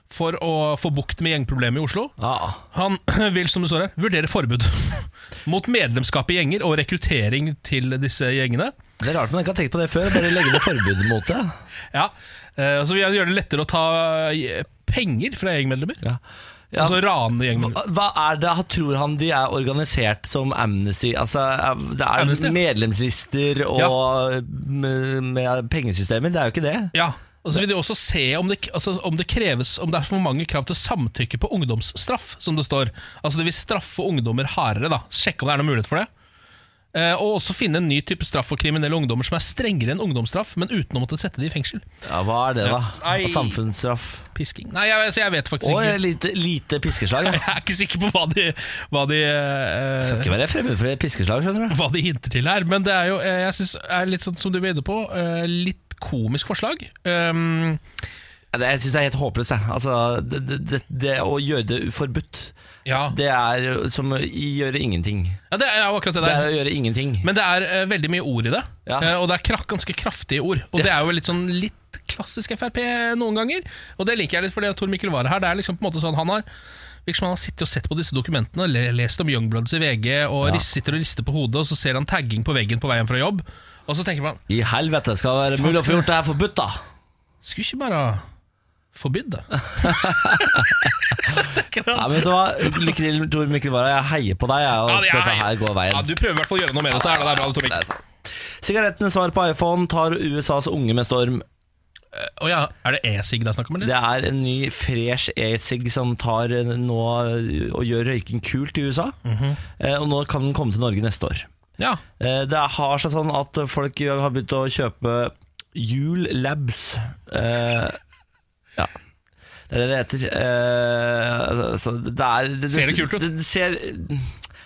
for å få bukt med gjengproblemet i Oslo.
Ja.
Han (clears throat) vil, som det står her, vurdere forbud (laughs) mot medlemskap i gjenger og rekruttering til disse gjengene.
Det er rart man ikke har tenkt på det før. Bare legge ned forbud mot det.
Ja, eh, så vi gjør det lettere å ta eh, penger fra gjengmedlemmer.
Ja. Ja.
Altså rane gjengmedlemmer.
Hva hva er det, tror han de er organisert som Amnesty? Altså, eh, det er
Amnesty, ja.
medlemslister og med, med pengesystemer, det er jo ikke det.
Ja, og så vil de også se om det, altså, om det kreves Om det er for mange krav til samtykke på ungdomsstraff, som det står. Altså det vil straffe ungdommer hardere, da. Sjekke om det er noen mulighet for det. Eh, og også finne en ny type straff for kriminelle ungdommer som er strengere enn ungdomsstraff, men uten å måtte sette de i fengsel.
Ja, hva er det, da?
Nei.
Samfunnsstraff.
Pisking. Nei, jeg, altså, jeg vet faktisk
Og
ikke. (laughs)
lite, lite piskeslag. Ja.
Jeg er ikke sikker på hva de, hva de eh,
Skal ikke være fremmed for et piskeslag, skjønner du.
hva de hinter til her, men det er jo eh, jeg synes, er litt sånn som du var inne på, eh, litt komisk forslag. Um,
Ja, det- Jeg syns det er helt håpløst. jeg. Altså, det, det, det, det å gjøre det forbudt,
ja.
det
Det,
er som å gjøre ingenting.
ja, det er jo akkurat det
Det er
der.
å gjøre ingenting.
Men det er eh, veldig mye ord i det,
Ja.
eh, og det er krak ganske kraftige ord. Og det er jo litt sånn litt klassisk Frp noen ganger, og det liker jeg litt fordi at Tor Mikkel Wara her, det er liksom på en måte sånn han har Virker som han har sittet og sett på disse dokumentene, le- lest om Youngbloods i VG, og
Ja.
ris- sitter og rister på hodet, og så ser han tagging på veggen på veien fra jobb, og så tenker man
I helvete, skal det være
Faen,
mulig å
skal
få
det-
gjort det her forbudt, da?
Skulle ikke bare forbydd det? (laughs) Tenker han.
Ja, men vet du hva? Lykke til, Tor Mikkel Wara. Jeg heier på deg. Jeg, og
Ja, det er-
dette her går
Ja,
veien.
du prøver i hvert fall å gjøre noe med dette. her, da. Det er bra, Tomik.
Det er sant. Sigarettene svar på iPhone tar USAs unge med storm.
Å ja, er det e-sig det er snakk om?
Det
eller?
er en ny fresh e-sig som tar eh, nå eh, og gjør røyking kult i USA. Eh, Og nå kan den komme til Norge neste år.
Ja.
Eh, Det har seg sånn at folk har begynt å kjøpe Jul Labs. Eh, ja. Det er det det heter. Eh, altså, det er, det,
Ser det kult ut?
Det, det ser,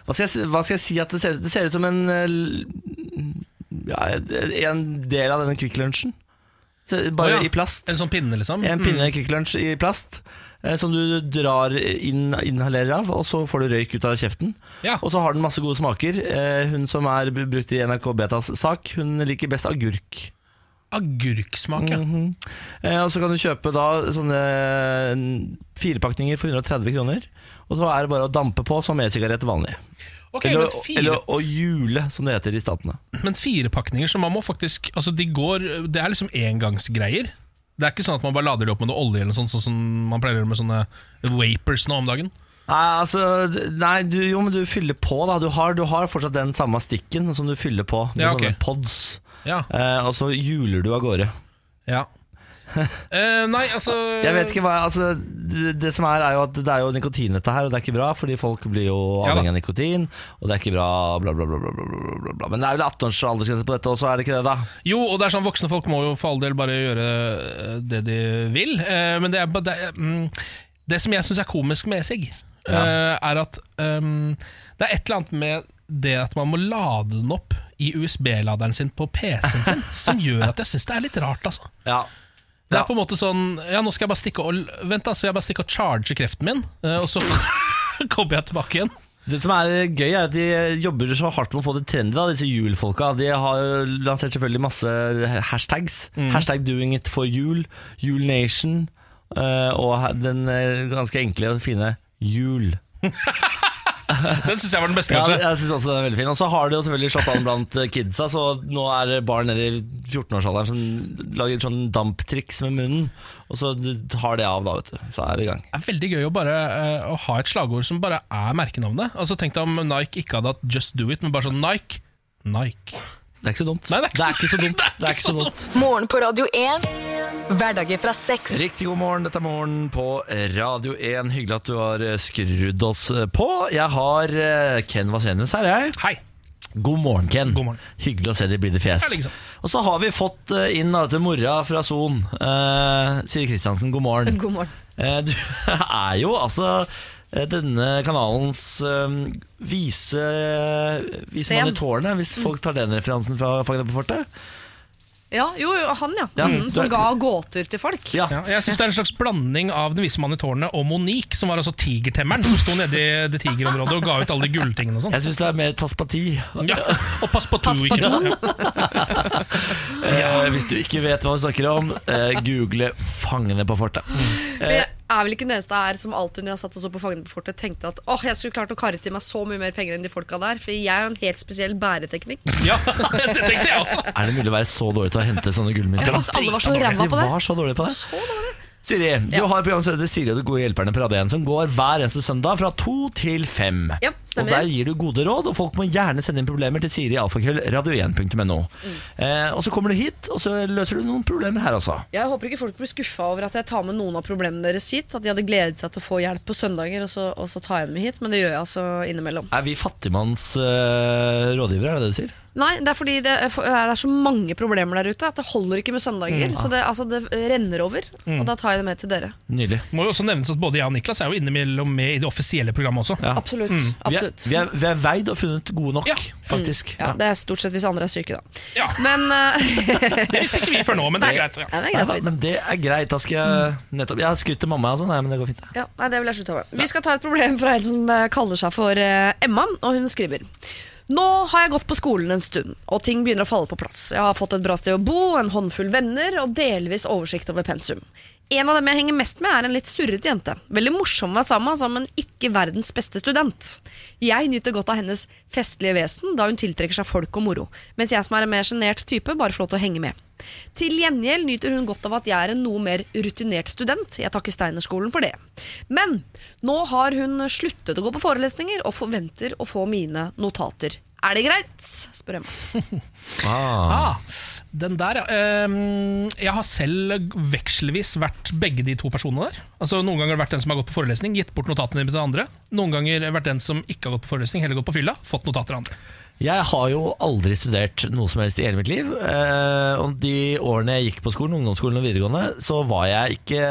hva, skal jeg, si- hva skal jeg si at det ser ut Det ser ut som en eh, l- ja, En del av denne Kvikk Lunsjen. Se- Bare
Å ja.
i plast.
En sånn pinne, liksom?
En pinne Kvikk Lunsj i plast eh, som du drar inn, inhalerer av, og så får du røyk ut av kjeften.
Ja.
Og så har den masse gode smaker. Eh, Hun som er br- brukt i NRK Betas sak, hun liker best agurk.
Agurksmak, ja.
Eh, Og så kan du kjøpe da sånne n- firepakninger for 130 kroner. Og så er det bare å dampe på som e-sigarett vanlig.
Ok,
Eller,
men, fire,
eller å hjule, som det heter i statene.
men fire pakninger, så man må faktisk Altså, de går Det er liksom engangsgreier. Det er ikke sånn at man bare lader det opp med noe olje, eller noe sånt, sånn som man pleier å gjøre med sånne vapers nå om dagen.
Nei, altså, d- nei du, jo, men du fyller på, da. Du har, du har fortsatt den samme stikken som du fyller på. Med
Ja, ok.
sånne pods.
Ja,
Eh, og så hjuler du av gårde. (laughs)
ja Eh, Nei, altså
Jeg vet ikke hva altså, det, det som er, er jo at det er jo nikotin dette her, og det er ikke bra, fordi folk blir jo
Ja da.
avhengig av nikotin, og det er ikke bra, bla, bla, bla, bla, bla, bla, bla, bla. Men det er vel 18 års aldersgrense på dette også, er det ikke det, da?
Jo, og det er sånn voksne folk må jo for all del bare gjøre eh, det de vil. eh, Men det, er, ba- det, er, mm, det som jeg syns er komisk med e-sig, eh, er at ehm, det er et eller annet med det at man må lade den opp i USB-laderen sin på PC-en
(laughs)
sin, som gjør at jeg syns det er litt rart, altså.
Ja.
Det
Ja.
er på en måte sånn Ja, nå skal jeg bare stikke og Vent, da, så jeg bare stikker og charger kreften min, eh, og så (laughs) kommer jeg tilbake igjen.
Det som er gøy, er at de jobber så hardt med å få det trendy, da, disse julfolka. De har jo lansert selvfølgelig masse hashtags.
Mm.
Hashtag doing it for jul, julnation, eh, og ha- den eh, ganske enkle og fine jul.
Den syns jeg var den beste,
Ja,
kanskje.
jeg synes også den er veldig fin Og så har det jo selvfølgelig slått an blant eh, kidsa Så nå er det barn nede i 14-årsalderen Som lager et sånn damptriks med munnen Og så har det av da, vet du Så er vi i gang
Det er veldig gøy å bare eh, å ha et slagord som bare er merkenavnet. Altså Tenk deg om Nike ikke hadde hatt Just Do It, men bare sånn Nike. Nike.
Det er ikke så dumt
Nei, det er ikke
så dumt (laughs) Det er ikke så dumt
Morgen på Radio 1. Hverdager fra seks.
Riktig god morgen, dette er morgen på Radio 1 Hyggelig at du har eh, skrudd oss eh, på Jeg har eh, Ken Vasenius her, jeg
Hei.
God morgen, Ken.
God morgen.
Hyggelig å se deg i blide fjes.
Ja, liksom.
Og så har vi fått eh, inn da dette mora fra Son. Eh, Siri Kristiansen, god morgen.
God morgen.
Eh, du (laughs) er jo altså eh, denne kanalens eh, vise eh, Vise
Sten.
mann i tårnet, hvis folk tar den referansen fra Fagene på fortet.
Ja, jo, jo, han ja.
Ja, du
Mm, som
er-
ga gåter til folk.
Ja.
Ja, jeg syns det er en slags blanding av Den vise mannen i tårnet og Monique, som var altså tigertemmeren som sto nede i det tigerområdet og ga ut alle de gulltingene og sånn.
Jeg syns det er mer taspati.
Ja, og pass på to,
Pass på
ikke sant? Ja.
Eh, hvis du ikke vet hva vi snakker om, eh, google 'Fangene på fortet'.
Men jeg er vel ikke den eneste her som alltid når jeg satt og så på Fangene på fortet, tenkte at åh, jeg skulle klart å karre til meg så mye mer penger enn de folka der, for jeg har en helt spesiell bæreteknikk.
ja, (laughs) det tenkte jeg også.
Er det mulig å være så dårlig til å hente sånne gullmynter?
Jeg
da?
syns alle var så
dritdårlig.
ræva
De
på det.
var så dårlige på det.
Så dårlig.
Siri, du
Ja.
har program som heter Siri og de gode hjelperne på Radio 1, som går hver eneste søndag fra to til fem.
Ja,
og
stemmer.
der gir du gode råd, og folk må gjerne sende inn problemer til Siri alfakrøll radio1.no.
Mm.
Eh, og så kommer du hit, og så løser du noen problemer her også.
Jeg håper ikke folk blir skuffa over at jeg tar med noen av problemene deres hit. At de hadde gledet seg til å få hjelp på søndager, og så, og så tar jeg dem med hit. Men det gjør jeg altså innimellom.
Er vi fattigmanns eh, rådgivere, er det det du sier?
Nei, det er fordi det er, for- det er så mange problemer der ute at det holder ikke med søndager.
Mm.
Så det, altså, det renner over, og da tar jeg det med til dere.
Nydelig.
Må jo også nevnes at både jeg og Niklas er jo innimellom med i det offisielle programmet også.
Ja.
Absolutt.
Mm. Vi er,
absolutt. Mm.
vi, er, vi er veid og funnet gode nok,
Ja.
faktisk.
Ja, det er stort sett hvis andre er syke, da.
Ja,
Men eh, (laughs)
Det visste ikke vi før nå, men det er greit. Ja.
ja, det er
Nei
greit Mm. å
da,
vite.
men det er greit. Da skal jeg nettopp Jeg har skrytt til mamma, altså. Nei, men det går fint. det.
Ja, nei, det vil jeg slutte med. Vi skal ta et problem fra en som eh, kaller seg for eh, Emma, og hun skriver. Nå har jeg gått på skolen en stund, og ting begynner å falle på plass. Jeg har fått et bra sted å bo, en håndfull venner og delvis oversikt over pensum. En av dem jeg henger mest med, er en litt surrete jente. Veldig morsom å være sammen med, altså, men ikke verdens beste student. Jeg nyter godt av hennes festlige vesen, da hun tiltrekker seg folk og moro, mens jeg som er en mer sjenert type, bare får lov til å henge med. Til gjengjeld nyter hun godt av at jeg er en noe mer rutinert student. Jeg takker Steinerskolen for det. Men nå har hun sluttet å gå på forelesninger og forventer å få mine notater. Er det greit? spør Emma.
Ah.
Ah, den der, ja. Ehm, Jeg har selv vekselvis vært begge de to personene der. Altså Noen ganger har det vært den som har gått på forelesning, gitt bort notatene til andre. Noen ganger har det vært den som ikke har gått på forelesning, heller gått på fylla, fått notater av andre.
Jeg har jo aldri studert noe som helst i hele mitt liv. Eh, og de årene jeg gikk på skolen, ungdomsskolen og videregående, så var jeg ikke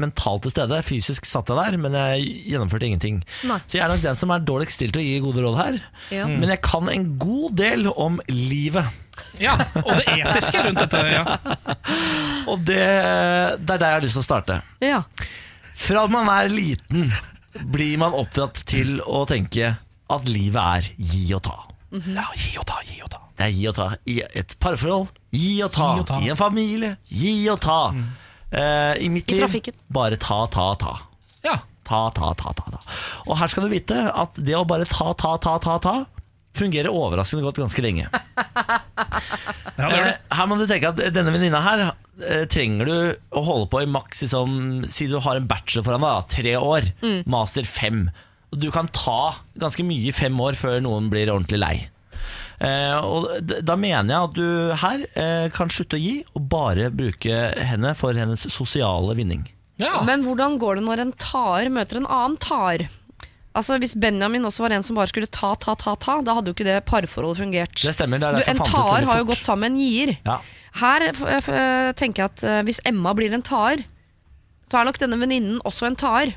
mentalt til stede. Fysisk satt jeg der, men jeg gjennomførte ingenting.
Nei.
Så jeg er nok den som er dårligst stilt til å gi gode råd her. Mm.
Ja.
Men jeg kan en god del om livet.
Ja, Og det etiske rundt dette. ja
Og det, det er der jeg har lyst til å starte.
Ja.
Fra man er liten, blir man oppdratt til å tenke at livet er gi og ta.
Mhm. Ja, Gi og ta, gi og ta.
Det er gi og ta i et parforhold. Gi og ta.
Gi og ta. Mm.
I en familie. Gi og ta. Eh, I mitt
I
liv
trafikken.
bare ta, ta, ta.
Ja,
Ta, ta, ta, ta, ta. Og her skal du vite at det å bare ta, ta, ta, ta, ta fungerer overraskende godt ganske lenge.
ja det er det.
Eh, her må du tenke at denne venninna her eh, trenger du å holde på i maks liksom, Si du har en bachelor foran deg, da, tre år.
Mm.
Master fem. Og du kan ta ganske mye i fem år før noen blir ordentlig lei. Eh, og d- da mener jeg at du her eh, kan slutte å gi, og bare bruke henne for hennes sosiale vinning.
Ja.
Men hvordan går det når en taer møter en annen taer? Altså Hvis Benjamin også var en som bare skulle ta, ta, ta, ta, da hadde jo ikke det parforholdet fungert.
Det stemmer. Det er
Du,
derfor
en
jeg fant ut
taer
veldig
har jo
fort.
gått sammen med en gier.
Ja.
Her eh, f f tenker jeg at eh, hvis Emma blir en taer, så er nok denne venninnen også en taer.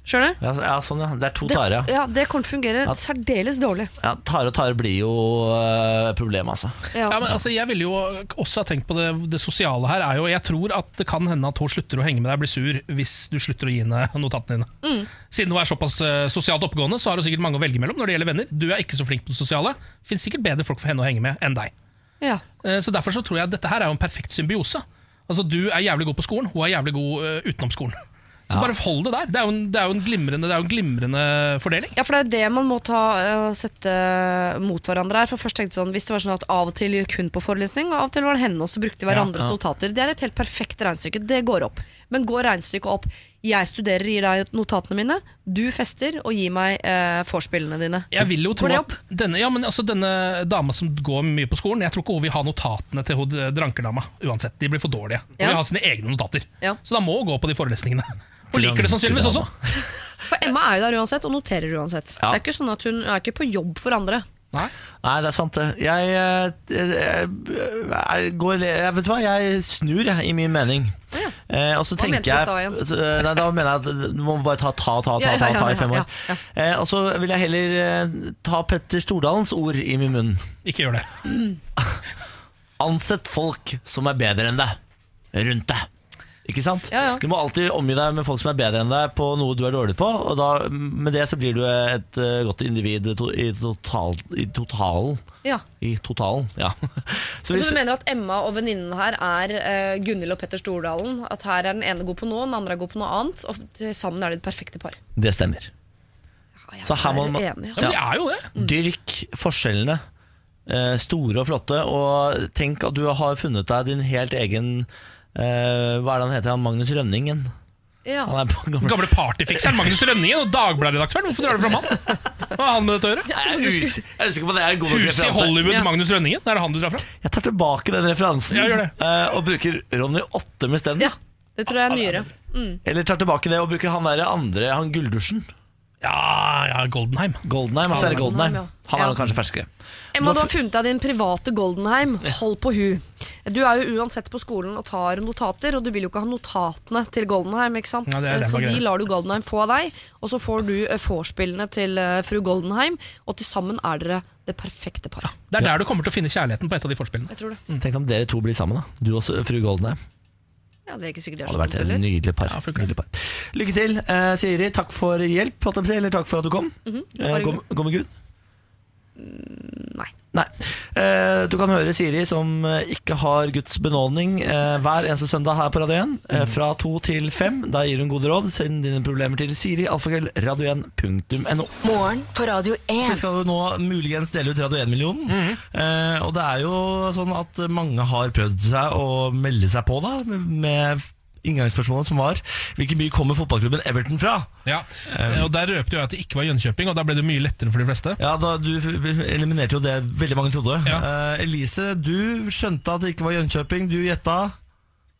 Skjønner du?
Ja, så- ja, sånn, ja. Det er to
Det,
tarer, ja.
ja, det kan fungere særdeles dårlig.
ja. Tare og tare blir jo eh, problemet, altså.
Ja.
Ja, men altså, jeg ville jo også ha tenkt på det, det sosiale her. Er jo, jeg tror at det kan hende at hun slutter å henge med deg og blir sur hvis du slutter å gi henne notatene dine. Siden hun er såpass eh, sosialt oppegående, så har hun sikkert mange å velge mellom når det gjelder venner. Du er ikke så flink på det sosiale. Fins sikkert bedre folk for henne å henge med enn deg.
ja.
Eh, Så derfor så tror jeg at dette her er jo en perfekt symbiose. Altså, du er jævlig god på skolen, hun er jævlig god eh, utenom skolen. Så bare hold det der. Det er jo en, det er jo en, glimrende, det er jo en glimrende fordeling.
Ja, for det er det man må ta, eh, sette mot hverandre her. For først tenkte jeg sånn, Hvis det var sånn at av og til gikk hun på forelesning, og av og til var det henne, og så brukte de hverandres
Ja, ja.
notater. Det er et helt perfekt regnestykke. Det går opp. Men går regnestykket opp? Jeg studerer, gir deg notatene mine. Du fester og gir meg eh, vorspielet dine.
Jeg vil jo tro
Går det
at denne, ja, men altså denne dama som går mye på skolen Jeg tror ikke hun vil ha notatene til hun eh, drankerdama uansett. De blir for dårlige. Hun
Ja.
vil ha sine egne notater.
Ja.
Så da må hun gå på de forelesningene. Hun liker det sannsynligvis også.
For Emma er jo der uansett, og noterer uansett. Så
Ja.
det er ikke sånn at hun er ikke på jobb for andre.
Nei.
Nei, det er sant det. Jeg, eh, jeg, jeg går jeg, Vet du hva, jeg snur jeg, i min mening.
Ja.
Eh, og så
Hva mente
tenker
du i
jeg
stad igjen?
så, eh, Nei, Da mener jeg at du må bare ta ta ta ta,
Ja, ja,
ta,
ja,
ta
ja,
i fem
ja,
år. Eh, og så vil jeg heller eh, ta Petter Stordalens ord i min munn.
Ikke gjør det.
Ansett folk som er bedre enn deg rundt deg. Ikke sant?
Ja, ja.
Du må alltid omgi deg med folk som er bedre enn deg på noe du er dårlig på, og da, med det så blir du et eh, godt individ to, i, total, i totalen.
Ja.
I totalen, ja. (laughs) Så
Så du mener at Emma og venninnen her er eh, Gunhild og Petter Stordalen? At her er den ene god på noe, den andre er god på noe annet, og til sammen er de det perfekte par?
Det stemmer.
Ja, jeg
Så her må
er
man-
enig,
Ja, men
altså.
de er jo det.
Dyrk forskjellene. eh, Store og flotte. Og tenk at du har funnet deg din helt egen eh, Hva er det han heter? Han Magnus Rønningen?
ja.
Han er på gamle
Gamle partyfikseren Magnus Rønningen og Dagbladet-redaktøren. Hvorfor drar du fram han? Hva har han med dette å gjøre?
Jeg er us- jeg er usikker på om det er en god nok
Huset i
referanse.
Hollywood,
Ja.
Magnus Rønningen. Er det han du drar fram?
Jeg tar tilbake den referansen
Ja, gjør det.
eh, og bruker Ronny Åttem isteden.
ja. Det tror jeg er nyere.
Eller tar tilbake det og bruker han der andre, han Gulldusjen.
Ja, ja, Goldenheim.
Goldenheim. Sverre Goldenheim.
Goldenheim, ja.
Han
Ja.
er nok kanskje ferskere.
Emma, du har funnet deg din private Goldenheim. Hold på hu. Du er jo uansett på skolen og tar notater, og du vil jo ikke ha notatene til Goldenheim. ikke sant?
Ja, det er det
så
som er
de
greia.
lar du Goldenheim få av deg, og så får du eh, vorspielene til eh, fru Goldenheim, og til sammen er dere det perfekte paret.
Det er der du kommer til å finne kjærligheten på et av de forspillene.
Jeg tror det.
Tenk om dere to blir sammen, da. Du og s- fru Goldenheim.
Ja, det er ikke sikkert det er
Hadde
så
vært
dumt
et
heller.
nydelig par.
Ja, funker det.
nydelig par. Lykke til, eh, Siri. Takk for hjelp, holdt jeg på å si, eller takk for at du kom. Eh,
Mhm. bare Mm,
gå, gå med Gud.
nei.
Nei. Eh, du kan høre Siri, som eh, ikke har Guds benådning, eh, hver eneste søndag her på Radio 1.
Mhm.
Eh, fra to til fem. Da gir hun gode råd. Send dine problemer til Siri, alfakrøll, radio1.no.
Morgen på Radio
Vi
1.
skal jo nå muligens dele ut Radio 1-millionen. Eh, og det er jo sånn at mange har prøvd seg å melde seg på, da. Med inngangsspørsmålet som var Hvilken by kommer fotballklubben Everton fra?
Ja, og Der røpte jo jeg at det ikke var Jönköping, og da ble det mye lettere for de fleste.
Ja, da, Du f- eliminerte jo det veldig mange trodde.
Ja.
Eh, Elise, du skjønte at det ikke var Jönköping. Du gjetta.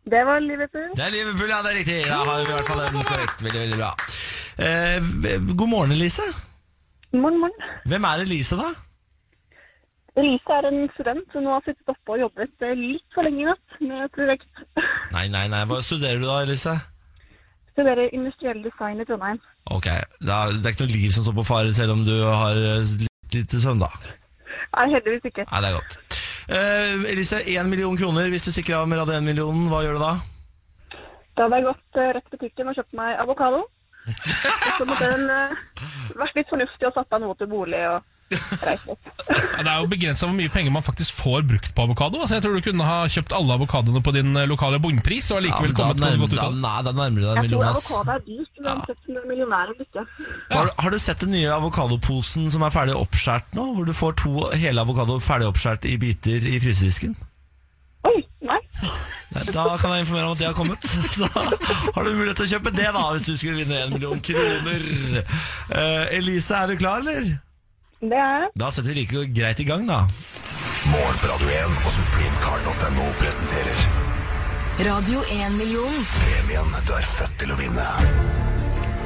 Det var Liverpool.
Det er Liverpool, ja, det er riktig! Da har vi i hvert fall den korrekt. Veldig, veldig bra. Eh, v- god morgen, Elise.
Morgen, morgen.
Hvem er Elise, da?
Elise er en student som nå har sittet oppe og jobbet eh, litt for lenge i natt med et prosjekt.
Nei, nei, nei. Hva studerer du da, Elise?
Studerer industriell design i Trondheim.
Ok, da, Det er ikke noe liv som står på fare, selv om du har eh, litt lite søvn, da.
Nei, heldigvis ikke.
Nei, det er godt. Eh, Elise, én million kroner. Hvis du stikker av med Radio 1-millionen, hva gjør du da?
Da hadde jeg gått eh, rett til butikken og kjøpt meg avokado. Og så måtte hun eh, vært litt fornuftig og satt av noe til bolig og reist litt.
Ja, det er jo begrensa hvor mye penger man faktisk får brukt på avokado. Altså, jeg tror du kunne ha kjøpt alle avokadoene på din eh, lokale bunnpris og allikevel
da,
kommet noe
nærmer,
godt ut
da,
av det.
nei, da nærmer du deg en
Jeg tror
million. Ass.
avokado er dyrt, uansett om du er millionær eller ikke.
Har, du- har du sett den nye avokadoposen som er ferdig oppskåret nå? Hvor du får to hele avokado ferdig oppskåret i biter i frysedisken?
Oi, nei.
Nei, Da kan jeg informere om at det har kommet. (laughs) Så har du mulighet til å kjøpe det, da, hvis du skulle vinne en million kroner. Eh, Elise, er du klar, eller?
Det er jeg.
Da setter vi like greit i gang, da.
Morgen på Radio 1 og supremecard.no presenterer
Radio 1-million.
premien du er født til å vinne.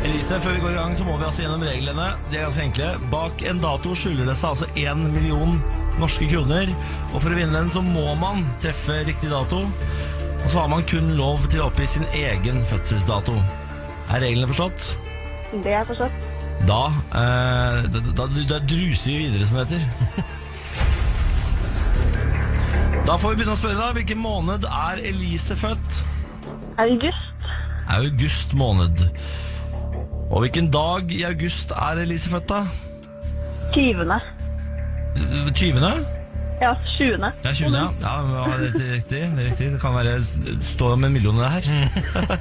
Elise, før vi går i gang så må vi altså gjennom reglene. De er ganske enkle. Bak en dato skjuler det seg altså 1 million norske kroner. Og for å vinne den så må man treffe riktig dato. Og så har man kun lov til å oppgi sin egen fødselsdato. Er reglene forstått?
Det er forstått.
Da, eh, da, da, da druser vi videre, som det heter. (laughs) Da får vi begynne å spørre deg. Hvilken måned er Elise født?
August.
August måned. Og hvilken dag i august er Elise født, da?
20.
20.
Ja, 20.
Det er 20, ja. ja men det er riktig, det er riktig. Det kan være stå med millioner her.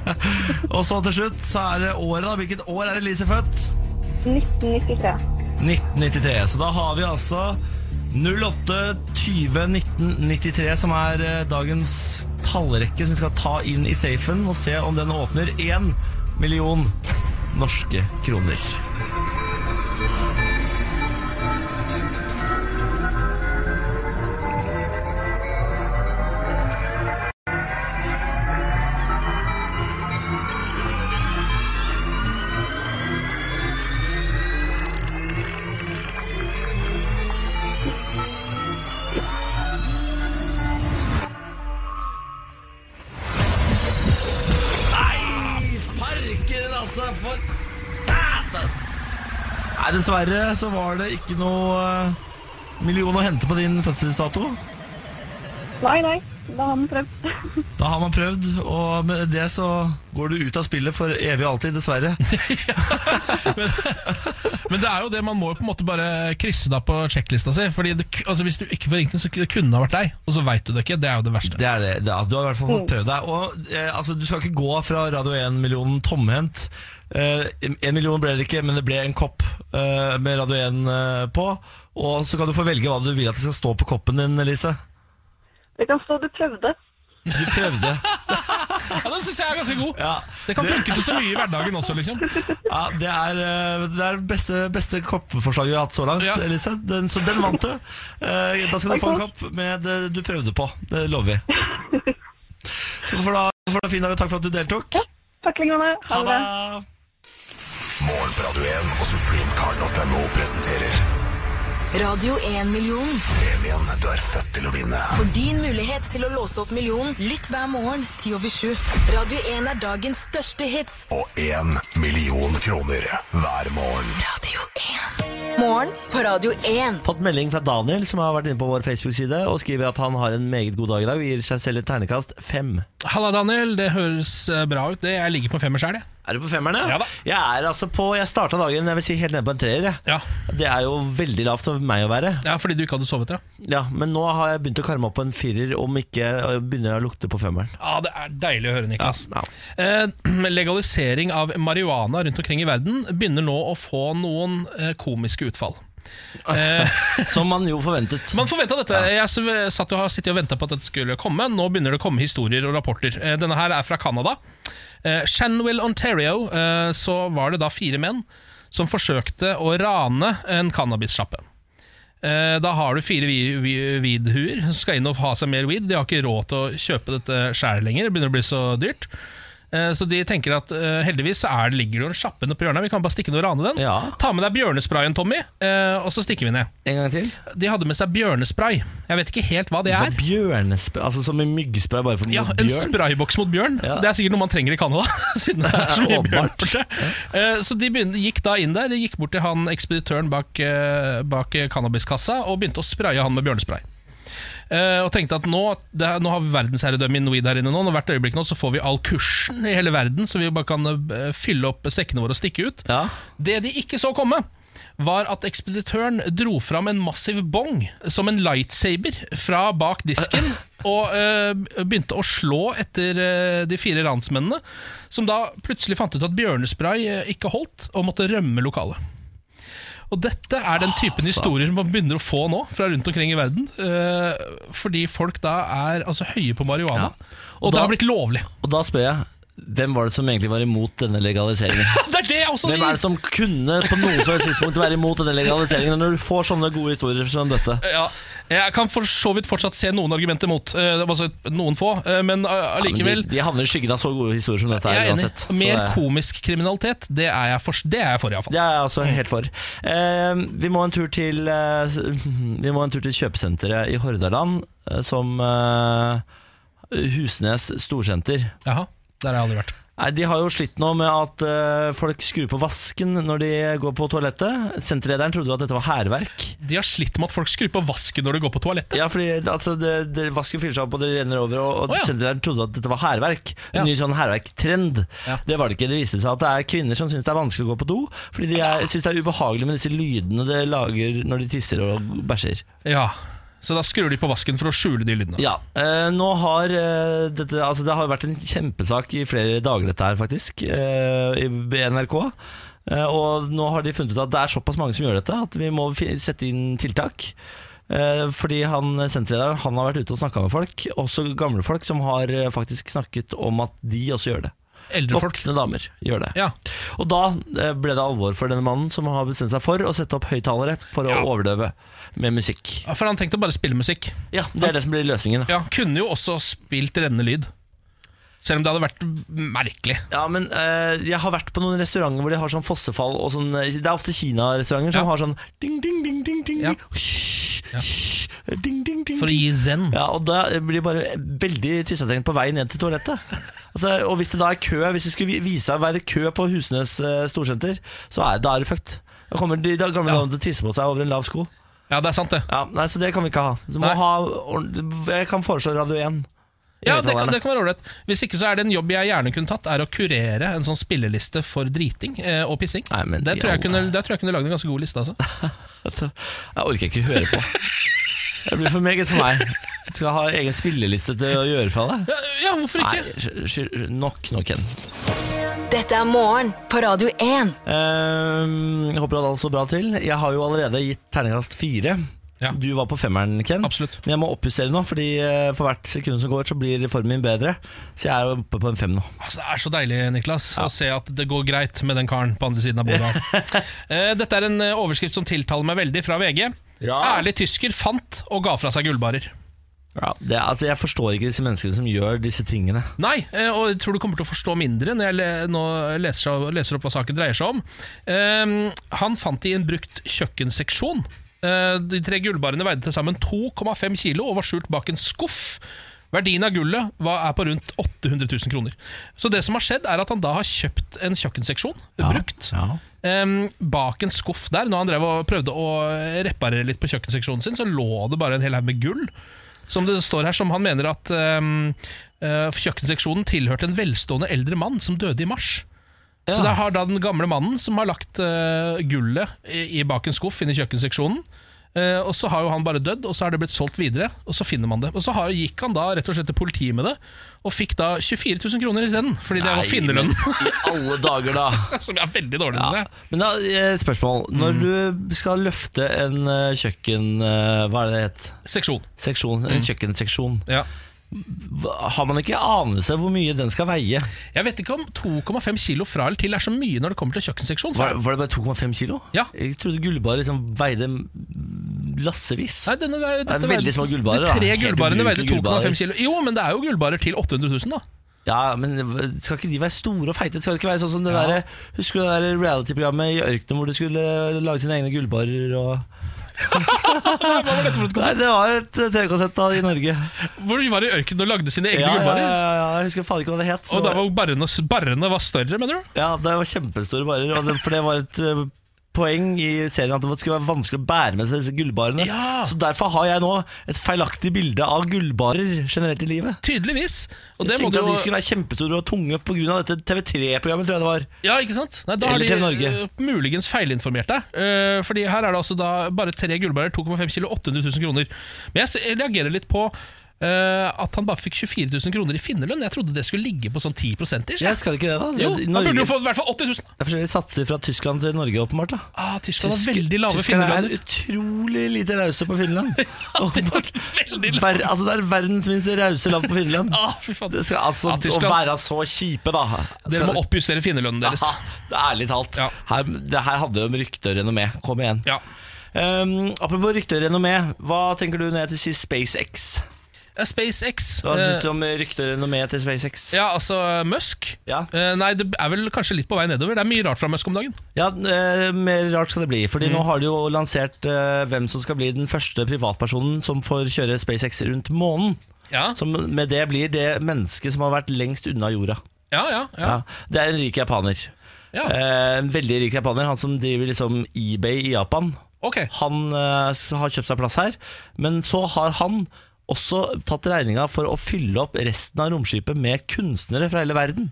(laughs) og så til slutt så er det året, da. Hvilket år er Elise født?
1993.
1993. Så da har vi altså 08-20-1993 som er eh, dagens tallrekke som vi skal ta inn i safen og se om den åpner én million norske kroner. Nei, farken altså for... Æ, Nei, dessverre så var det ikke noe eh, million å hente på din fødselsdato.
Nei, nei. Da har vi prøvd. (laughs)
Da har man prøvd, og med det så går du ut av spillet for evig og alltid, dessverre. (laughs)
Men det er jo det, man må jo på en måte bare krysse da på sjekklista si. Fordi det, ku- altså Hvis du ikke får ringt den, så kunne det kunne ha vært deg, og så veit du det ikke. Det er jo det verste.
Det er det. det er, du har i hvert fall fått prøvd deg. Og eh, altså, Du skal ikke gå fra Radio 1-millionen tomhendt. Eh, en million ble det ikke, men det ble en kopp eh, med Radio 1 eh, på. Og så kan du få velge hva du vil at det skal stå på koppen din, Elise.
Det kan stå 'du prøvde'.
Du prøvde. (laughs)
Ja, Den syns jeg er ganske god.
Ja,
Det kan funke til så mye i hverdagen også, liksom. (laughs)
ja Det er eh, det er beste, beste koppeforslaget vi har hatt så langt,
Ja.
Elise. Den, så den vant du. Eh, da skal du få en kopp med det du prøvde på. Det lover
(laughs)
vi. Så får du ha får du ha en fin dag, og takk for at du deltok.
Takk, Lignende. Ha det.
det.
Morgen på Radio 1 og supremecard.no presenterer
Radio 1-million.
premien du er født til å vinne.
For din mulighet til å låse opp millionen, lytt hver morgen 10 over 7. Radio 1 er dagens største hits.
Og én million kroner hver morgen.
Radio 1. Morgen på Radio 1.
fått melding fra Daniel, som har vært inne på vår Facebook-side, og skriver at han har en meget god dag i dag og gir seg selv et ternekast fem.
Halla, Daniel. Det høres eh, bra ut. Det, jeg ligger på femmer sjøl, jeg.
Er du på femmeren,
Ja da.
Jeg er altså på, jeg starta dagen jeg vil si helt nede på en treer. jeg.
Ja.
Det er jo veldig lavt av meg å være.
ja, fordi du ikke hadde sovet, ja.
Ja, Men nå har jeg begynt å karme opp på en firer, om ikke øh, begynner jeg å lukte på femmeren.
Ja, Det er deilig å høre, Niklas.
Ja,
Eh, legalisering av marihuana rundt omkring i verden begynner nå å få noen eh, komiske utfall.
(laughs) Som man jo forventet.
Man forventa dette. Jeg s- satt jo, har sittet og venta på at dette skulle komme. Nå begynner det å komme historier og rapporter. Eh, Denne her er fra Canada. Eh, Shanwell, Ontario, eh, så var det da fire menn som forsøkte å rane en cannabissjappe. Eh, Da har du fire vi- vi- weed-huer som skal inn og ha seg mer weed. De har ikke råd til å kjøpe dette sjæl lenger, det begynner å bli så dyrt. Eh, Så de tenker at eh, heldigvis så er det, ligger det jo en sjappe nede på hjørnet, vi kan bare stikke ned og rane den.
Ja.
Ta med deg bjørnesprayen, Tommy, eh, og så stikker vi ned.
En gang til.
De hadde med seg bjørnespray. Jeg vet ikke helt hva det
Ja,
er.
Bjørnespray, altså som en myggspray bare for
Ja,
mot
En
bjørn.
sprayboks mot bjørn.
Ja.
Det er sikkert noe man trenger i Canada. (laughs) Siden det er så mye bjørn
Åpenbart.
borte. Eh, Så de begynte, gikk da inn der, de gikk bort til han ekspeditøren bak, eh, bak cannabiskassa og begynte å spraye han med bjørnespray. Eh, Og tenkte at nå, det, er- nå har vi verdensherredømme innen weed her inne nå. Og hvert øyeblikk nå så får vi all kursen i hele verden, så vi bare kan eh, fylle opp sekkene våre og stikke ut.
Ja.
Det de ikke så komme, var at ekspeditøren dro fram en massiv bong som en lightsaber fra bak
(laughs)
disken, og eh, begynte å slå etter eh, de fire ransmennene, som da plutselig fant ut at bjørnespray eh, ikke holdt, og måtte rømme lokalet. Og dette er den
Ah,
typen historier man begynner å få nå, fra rundt omkring i verden. eh, fordi folk da er altså, høye på marihuana, og, det
da-
har
(laughs)
blitt lovlig.
Og da spør jeg, hvem var det som egentlig var imot denne legaliseringen?
(laughs) Det er det jeg også
Hvem er
sier!
det som kunne på noe som helst tidspunkt være imot denne legaliseringen når du får sånne gode historier som dette?
Ja, jeg kan for så vidt fortsatt se noen argumenter mot. eh, det var altså noen få, eh, men
Men
eh, allikevel.
de, de havner i skyggen av så gode historier som dette
jeg
er
er enig.
uansett. Så
Mer
det-
komisk kriminalitet, det er jeg for, det er jeg for iallfall.
Det er jeg også helt for. Eh, vi, må en tur til, eh, (laughs) s- vi må en tur til kjøpesenteret i Hordaland, eh, som eh, Husnes storsenter.
Jaha, der har jeg aldri vært.
Nei, De har jo slitt nå med at eh, folk skrur på vasken når de går på toalettet. Senterlederen trodde jo at dette var hærverk.
De har slitt med at folk skrur på vasken når de går på toalettet.
(laughs) Ja, fordi altså, det, det, vasken fyller seg opp, og det renner over. Og, og
Å, ja.
sentraleren trodde at dette var hærverk. En
Ja.
ny sånn hærverktrend.
Ja.
Det var det ikke. Det viste seg at det er kvinner som syns det er vanskelig å gå på do, fordi de er, syns det er ubehagelig med disse lydene det lager når de tisser og bæsjer.
Ja, Så da skrur de på vasken for å skjule de lydene.
Ja, eh, nå har eh, dette, altså Det har vært en kjempesak i flere dager, dette her, faktisk, eh, i NRK. Eh, og nå har de funnet ut at det er såpass mange som gjør dette, at vi må fi- sette inn tiltak. Eh, fordi han senterlederen han har vært ute og snakka med folk, også gamle folk, som har eh, faktisk snakket om at de også gjør det.
Eldre folk.
Voksne damer gjør det.
Ja.
Og da eh, ble det alvor for denne mannen, som har bestemt seg for å sette opp høyttalere for
Ja.
å overdøve med musikk.
Ja, For han tenkte å bare spille musikk.
Ja, Det er det som blir løsningen. da.
Ja, Kunne jo også spilt rennende lyd. Selv om det hadde vært merkelig.
Ja, men eh, jeg har vært på noen restauranter hvor de har sånn fossefall og sånn eh, Det er ofte Kina-restauranter som
Ja.
har sånn ding, ding, ding, ding, ding,
Ja.
hysj, hysj, ding, ding, ding,
For å gi zen.
ja, og da blir det bare veldig tissetrengt på vei ned til toalettet. (laughs) Altså, og hvis det da er kø, hvis det skulle vi- vise seg å være kø på Husnes eh, storsenter, så er, da er det fucked. Da kommer de da gamle
Ja.
damene til å tisse på seg over en lav sko.
Ja, det er sant, det.
Ja, nei, Så det kan vi ikke ha. Så må
Nei.
ha ord- jeg kan foreslå Radio 1. i
Ja, det kan,
høyttalerne.
det kan være ålreit. Hvis ikke så er det en jobb jeg gjerne kunne tatt, er å kurere en sånn spilleliste for driting eh, og pissing.
Nei, men
det,
i
tror jeg
alle-
kunne, det tror jeg kunne lagd en ganske god liste, altså.
Dette- Jeg orker ikke høre på. Det blir for meget for meg. Du skal ha egen spilleliste til å gjøre fra deg.
Ja, ja hvorfor
Nei,
ikke?
sky- sky- nok nå, Ken.
Dette er morgen på Radio 1.
Ehm, jeg håper du har alt så bra til. Jeg har jo allerede gitt terningkast fire.
Ja.
Du var på femmeren, Ken.
Absolutt.
Men jeg må oppjustere nå, fordi eh, for hvert sekund som går, så blir formen min bedre. Så jeg er oppe på en fem nå.
Altså, det er så deilig Niklas, å se at det går greit med den karen på andre siden av bordet.
(laughs)
eh, dette er en eh, overskrift som tiltaler meg veldig, fra VG.
Ja.
Ærlig tysker fant og ga fra seg gullbarer.
Ja, det, altså, jeg forstår ikke disse menneskene som gjør disse tingene.
Nei, eh, og jeg tror du kommer til å forstå mindre når jeg le nå leser, leser opp hva saken dreier seg om. Ehm, han fant de i en brukt kjøkkenseksjon. Eh, de tre gullbarene veide til sammen 2,5 kilo og var skjult bak en skuff. Verdien av gullet var, er på rundt 800 000 kroner. Så det som har skjedd, er at han da har kjøpt en kjøkkenseksjon, brukt,
Ja.
ehm, bak en skuff der. Når han drev og prøvde å reparere litt på kjøkkenseksjonen sin, så lå det bare en hel haug med gull. Som det står her, som han mener at ehm, eh, kjøkkenseksjonen tilhørte en velstående eldre mann som døde i mars. Så det har da den gamle mannen som har lagt eh, gullet i, i bak en skuff inne i kjøkkenseksjonen. Eh, og så har jo han bare dødd, og så er det blitt solgt videre. Og så finner man det. Og så har, gikk han da rett og slett til politiet med det, og fikk da 24 000 kroner isteden. Fordi det var finnerlønn.
I alle dager, da.
(laughs) som er veldig dårlig. synes jeg.
Men da, eh, spørsmål. Når
Mm.
du skal løfte en eh, kjøkken... eh, Hva er det det het?
Seksjon.
Seksjon,
Mm.
en kjøkkenseksjon.
Ja.
Hva- Har man ikke anelse hvor mye den skal veie?
Jeg vet ikke om 2,5 kilo fra eller til er så mye når det kommer til kjøkkenseksjon.
Var, var det bare 2,5 kilo?
Ja.
Jeg trodde gullbar liksom veide lassevis.
Nei, denne, dette
Det er veldig
veide-
små gullbarer,
De tre
da. Helt
gullbarene veide
ubrukelige
2,5 kilo. Jo, men det er jo gullbarer til 800 000, da.
Ja, men Skal ikke de være store og feite? Skal det ikke være sånn som det
Ja.
der, Husker du det der reality-programmet i ørkenen hvor du skulle lage sine egne gullbarer? Og... Nei, det var et TV-konsept da i Norge.
Hvor de var i ørkenen og lagde sine egne
Ja, ja,
gullbarer.
ja, ja, jeg husker faen ikke hva det het.
Og
Det
da
var-
var barrene, barrene var større, mener du?
Ja, det var kjempestore barer, og det, for det var et eh, poeng i serien at det skulle være vanskelig å bære med seg disse gullbarene.
Ja.
Så derfor har jeg nå et feilaktig bilde av gullbarer generelt i livet.
Tydeligvis. Og
jeg
det må
tenkte
du
at de
jo
skulle være kjempestore og tunge pga. dette TV3-programmet, tror jeg det var.
Ja, ikke sant? Nei, da har
Eller
de
TV Norge.
eh, muligens feilinformert deg. Eh, fordi her er det altså da bare tre gullbarer, 2,5 kilo, 800 000 kroner. Men jeg s- jeg reagerer litt på eh, at han bare fikk 24 000 kroner i finnerlønn. Jeg trodde det skulle ligge på sånn 10 ish.
Jeg skal ikke det, da. Det,
Jo,
i
han
Norge,
burde jo fått i hvert fall 80 000.
det er forskjellige satser fra Tyskland til Norge, åpenbart. da
Ah, Tyskland har
Tysk-
veldig lave
Tyskerne
finnerlønner.
er utrolig lite rause på
(laughs)
Finland. Åpenbart.
Veldig lave.
Ver, altså, det er verdens minste rause land på Finland.
Ah, fy faen.
Det skal altså
Ja,
Å
Tyskland,
være så kjipe, da.
dere
Skal-
må oppjustere finnerlønnen deres.
Ja, det er ærlig talt.
Ja.
Her, det her hadde jo om rykte og renommé. Kom igjen.
Ja.
Um, apropos rykte og renommé, hva tenker du når jeg til sier SpaceX?
Eh, SpaceX
Hva
eh,
syns du om rykte og renommé til SpaceX?
Ja, altså Musk.
Ja.
Eh, nei, det er vel kanskje litt på vei nedover. Det er mye rart fra Musk om dagen.
Ja, eh, Mer rart skal det bli. Fordi
Mm.
nå har de jo lansert eh, hvem som skal bli den første privatpersonen som får kjøre SpaceX rundt månen.
Ja,
Som med det blir det mennesket som har vært lengst unna jorda.
ja, ja, ja.
Ja. Det er en rik japaner.
Ja.
Eh, en veldig rik japaner. Han som driver liksom eBay i Japan.
Ok.
Han eh, har kjøpt seg plass her, men så har han også tatt regninga for å fylle opp resten av romskipet med kunstnere fra hele verden.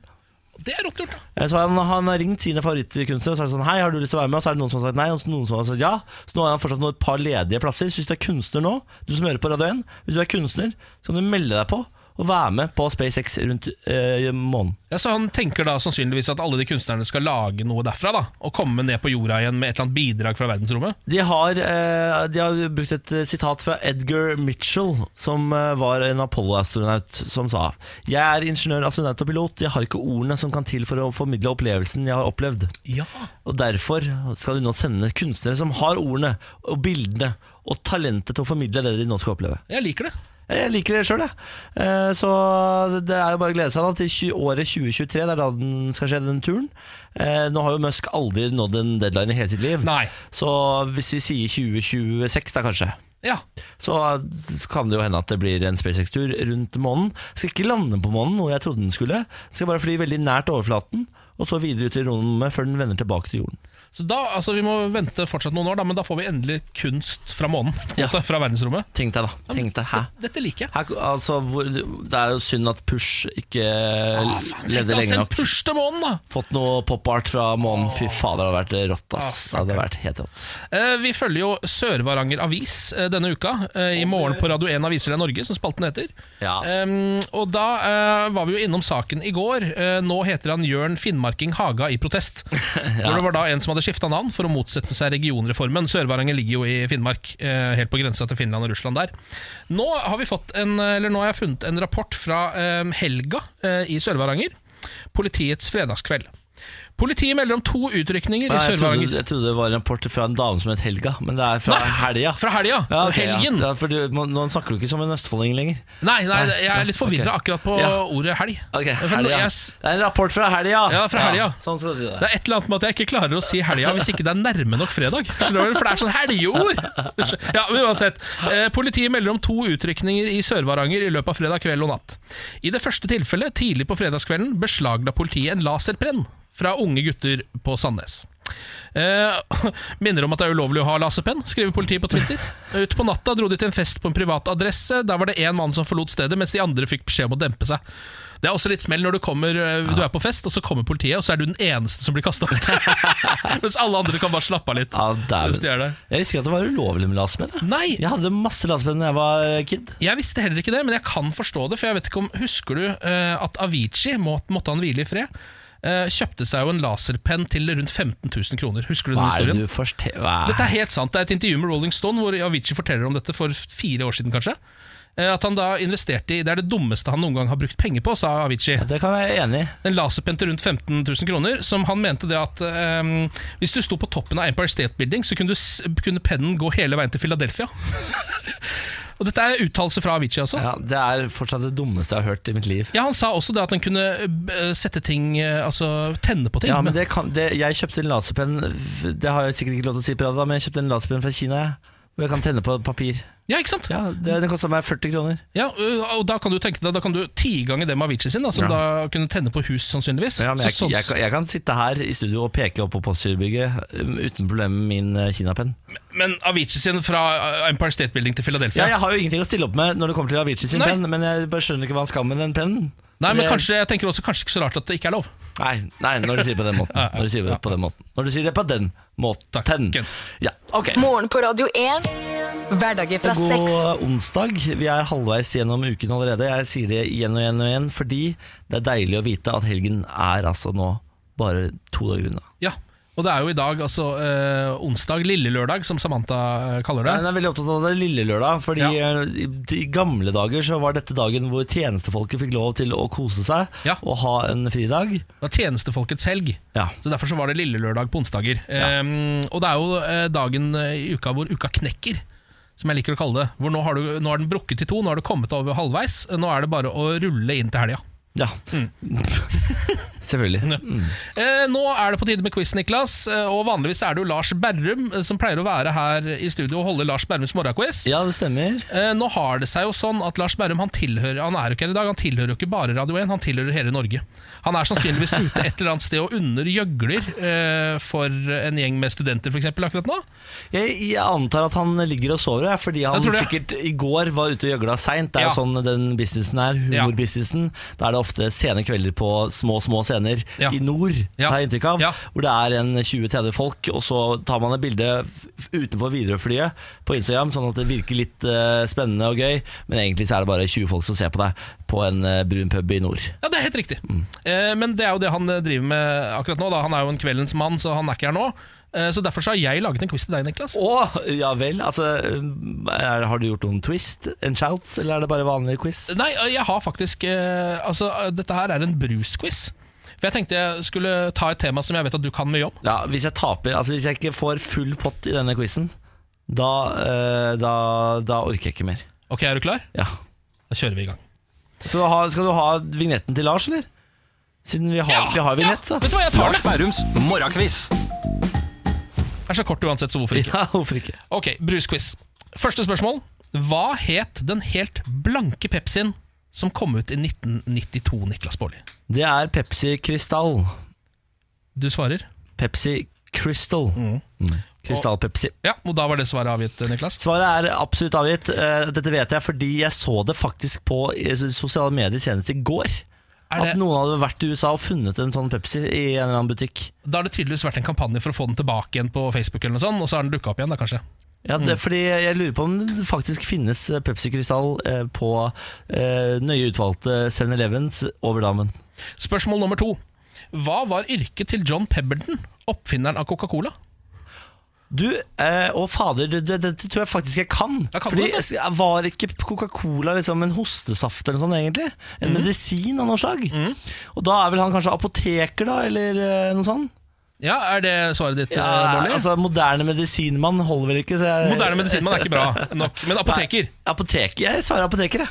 Det er rått gjort, da.
Eh, Så han, han har ringt sine favorittkunstnere og sagt sånn Hei, har du lyst til å være med? Og så er det noen som har sagt nei, og så noen som har sagt ja. Så nå har han fortsatt noen- et par ledige plasser. Så hvis du er kunstner nå, du som hører på Radio 1, hvis du er kunstner, så kan du melde deg på og være med på SpaceX rundt eh, månen.
Ja, så Han tenker da sannsynligvis at alle de kunstnerne skal lage noe derfra. da Og komme ned på jorda igjen med et eller annet bidrag fra verdensrommet.
De har, eh, de har brukt et eh, sitat fra Edgar Mitchell, som eh, var en Apollo-astronaut, som sa Jeg er ingeniør, astronaut og pilot. Jeg har ikke ordene som kan til for å formidle opplevelsen jeg har opplevd.
Ja
Og derfor skal du nå sende kunstnere som har ordene og bildene og talentet til å formidle det de nå skal oppleve.
Jeg liker det.
Jeg liker det sjøl, jeg. Eh, Så det er jo bare å glede seg da til tjue- året 2023. Det er da den skal skje, den turen. Eh, Nå har jo Musk aldri nådd en deadline i hele sitt liv.
Nei.
Så hvis vi sier 2026, da kanskje.
Ja,
Så kan det jo hende at det blir en SpaceX-tur rundt månen. Skal ikke lande på månen, noe jeg trodde den skulle. Skal bare fly veldig nært overflaten, og så videre ut i rommet før den vender tilbake til jorden.
så da, altså Vi må vente fortsatt noen år, da men da får vi endelig kunst fra månen.
Ja.
altså, Fra verdensrommet.
Tenk deg, da. Tenk deg, hæ?
Dette liker jeg.
Her, altså, hvor, det er jo synd at Push ikke Ah, leder lenge
Send
nok.
push til månen, da!
Fått noe pop-art fra månen. Fy faen, det hadde vært rått. ass
Ah,
Det hadde vært helt rått
Eh, Vi følger jo Sør-Varanger Avis eh, denne uka. eh, I morgen på Radio 1 Aviser det er Norge, som spalten heter.
Ja.
Em, og da eh, var vi jo innom saken i går. Eh, nå heter han Jørn Finnmarking Haga i
(laughs)
protest. Hvor det var da en som hadde skifta navn for å motsette seg regionreformen. Sør-Varanger ligger jo i Finnmark, eh, helt på grensa til Finland og Russland der. Nå har, vi fått en, eller nå har jeg funnet en rapport fra em, helga eh, i Sør-Varanger. Politiets fredagskveld. Politiet melder om to utrykninger i
Nei, jeg, trodde,
Sør-Varanger.
jeg trodde det var en rapport fra en dame som het Helga, men det er fra helga.
Fra helga!
Ja, ok, ja.
helgen!
Ja, for du, nå- nå snakker du ikke som en østfolding lenger.
Nei, nei, jeg er
Nei,
litt
ok.
forvirra akkurat på
Ja.
ordet helg.
Ok,
For nå-
helga.
jeg s-
Det er en rapport fra helga!
Ja, fra helga.
sånn skal du si
Det
det.
er et eller annet med at jeg ikke klarer å si helga hvis ikke det er nærme nok fredag. Skjønner du? For det er sånn helgeord! Ja, men uansett. Eh, Politiet melder om to utrykninger i Sør-Varanger i løpet av fredag kveld og natt. I det første tilfellet, tidlig på fredagskvelden, beslagla politiet en laserprenn fra unge gutter på Sandnes. Eh, (laughs) minner om at det er ulovlig å ha laserpenn, skriver politiet på Twitter. Ut på natta dro de til en fest på en privat adresse. Der var det én mann som forlot stedet, mens de andre fikk beskjed om å dempe seg. Det er også litt smell når du kommer eh, Du er på fest, og så kommer politiet, og så er du den eneste som blir kasta ut.
(laughs)
mens alle andre kan bare slappe av litt.
Ja,
Hvis de
dæven.
er det.
Jeg visste ikke at det var ulovlig med lasepenn. jeg.
Nei!
Jeg hadde masse lasepenn da jeg var kid.
Jeg visste heller ikke det, men jeg kan forstå det. For jeg vet ikke om, Husker du eh, at Avicii, må, måtte han hvile i fred, eh, kjøpte seg jo en laserpenn til rundt 15 000 kroner. Husker du den
Hva er
historien?
det du forste- hva er-
Dette er helt sant. Det er et intervju med Rolling Stone hvor Avicii forteller om dette for fire år siden, kanskje. Eh, At han da investerte i Det er det dummeste han noen gang har brukt penger på, sa Avicii.
Det kan jeg være enig i.
En laserpenn til rundt 15 000 kroner, som han mente det at eh, hvis du sto på toppen av Empire State Building, så kunne, du, s- kunne pennen gå hele veien til Philadelphia. (laughs) Og dette er uttalelse fra Avicii, altså.
Ja, det er fortsatt det dummeste jeg har hørt i mitt liv.
Ja, Han sa også det at den kunne eh, sette ting eh, Altså tenne (laughs) på ting.
Ja, men
men-
det kan, det, Jeg kjøpte en laserpenn Det har jeg sikkert ikke lov til å si på radio, da, men jeg kjøpte en laserpenn fra Kina. jeg. Hvor jeg kan tenne på papir.
ja ikke sant?
Ja, Det, det kosta meg 40 kroner.
Ja, ø, og Da kan du tenke deg Da kan du tigange det med Avicii sin, da, som da kunne tenne på hus, sannsynligvis.
Ja, men jeg,
Så sånn-
jeg, kan- jeg kan sitte her i studio og peke opp på Postgirobygget um, uten problem med min eh, kinapenn.
Men Avicii sin fra Empire State Building til Philadelphia
Ja, jeg har jo ingenting å stille opp med når det kommer til Avicii sin
Nei.
penn, men jeg bare skjønner ikke hva han skal med den pennen.
Nei, men
Det-
kanskje, jeg tenker også kanskje ikke så rart at det ikke er lov
Nei, nei, når du sier det på den måten.
(laughs) Ja, ja,
Når du sier det
ja.
på den måten. Når du sier det på den måten.
Takken.
Ja, ok.
Morgen på Radio 1. Hverdager fra seks.
God onsdag. Vi er halvveis gjennom uken allerede. Jeg sier det igjen og igjen og igjen, fordi det er deilig å vite at helgen er altså nå bare to dager unna.
Ja, og det er jo i dag, altså ø, onsdag, lille lørdag som Samantha ø, kaller det
Jeg er veldig opptatt av det lille lørdag, fordi eh, i i gamle dager så var dette dagen hvor tjenestefolket fikk lov til å kose seg
Ja.
og ha en fridag.
Det var tjenestefolkets helg
Ja.
Så derfor så var det lille lørdag på onsdager Ehm, Og det er jo ø, dagen ø, i uka hvor uka knekker som jeg liker å kalle det Hvor nå, har du, nå er den brukket i to, nå har du kommet over halvveis Nå er det bare å rulle inn til helgen
ja. (laughs) Selvfølgelig.
Eh, nå er det på tide med quiz, Niklas. Eh, og vanligvis er det jo Lars Berrum eh, som pleier å være her i studio og holde Lars Berrums morgenquiz.
Ja, det stemmer.
Eh, nå har det seg jo sånn at Lars Berrum han tilhører Han er jo ikke her i dag, han tilhører jo ikke bare Radio 1, han tilhører hele Norge. Han er sannsynligvis ute et eller annet sted og undergjøgler eh, for en gjeng med studenter, f.eks. akkurat nå.
Jeg, jeg antar at han ligger og sover, ja, fordi han
tror det.
sikkert i går var ute og gjøgla seint. Det er
Ja.
jo sånn den businessen er, humorbusinessen. Da er det ofte sene kvelder på små, små scener
Ja.
i nord,
Ja.
har jeg inntrykk av.
Ja.
Hvor det er en 20-30 folk, og så tar man et bilde f- utenfor Widerøe-flyet på Instagram, sånn at det virker litt eh, spennende og gøy, men egentlig så er det bare 20 folk som ser på deg på en eh, brun pub i nord.
Ja, det er helt riktig. Eh, men det er jo det han eh, driver med akkurat nå. Da. Han er jo en kveldens mann, så han er ikke her nå. Eh, så derfor så har jeg laget en quiz til deg, Niklas.
Å, ja vel. Altså, er, har du gjort noen twist, en shout, eller er det bare vanlig quiz?
Nei, eh, jeg har faktisk eh, Altså, eh, dette her er en brusquiz. For jeg tenkte jeg skulle ta et tema som jeg vet at du kan mye om.
Ja, hvis jeg taper, altså hvis jeg ikke får full pott i denne quizen, da, eh, da, da orker jeg ikke mer.
Ok, er du klar?
Ja.
Da kjører vi i gang.
Skal du ha, skal du ha vignetten til Lars, eller? Siden vi har, vi har vignett, så.
Vet du hva, jeg tar det!
Bærums morgenkviss.
Det er så kort uansett, så hvorfor ikke?
Ja, hvorfor ikke?
Ok, brusquiz. Første spørsmål. Hva het den helt blanke Pepsien som kom ut i 1992, Niklas Baarli?
Det er Pepsi Kristall.
Du svarer?
Pepsi Crystal. Mm. Krystall-Pepsi.
Ja, og da var det svaret avgitt, øh, Niklas.
Svaret er absolutt avgitt. Eh, Dette vet jeg fordi jeg så det faktisk på eh, sosiale medier senest i går.
Er
At
det,
noen hadde vært i USA og funnet en sånn Pepsi i en eller annen butikk.
da har det tydeligvis vært en kampanje for å få den tilbake igjen på Facebook, eller noe sånt, og så har den dukka opp igjen, da kanskje.
Ja,
Mm.
det, fordi Jeg lurer på om det faktisk finnes eh, Pepsi Krystall eh, på eh, nøye utvalgte 7-Elevens over damen.
Spørsmål nummer to. Hva var yrket til John Pebberton, oppfinneren av Coca-Cola?
Du, eh, og fader, det, det, dette tror jeg faktisk jeg kan.
Ja, kan du
fordi
det?
jeg- jeg Var ikke Coca-Cola liksom en hostesaft eller noe sånt, egentlig? En
Mm.
medisin av noe slag? Og da er vel han kanskje apoteker, da, eller eh, noe sånt?
Ja, er det svaret ditt,
Ja,
eh, Baarli?
altså Moderne medisinmann holder vel ikke, så jeg
Moderne medisinmann er ikke bra nok, men
(laughs)
apoteker.
Nei, Apoteker, Jeg svarer apoteker, jeg.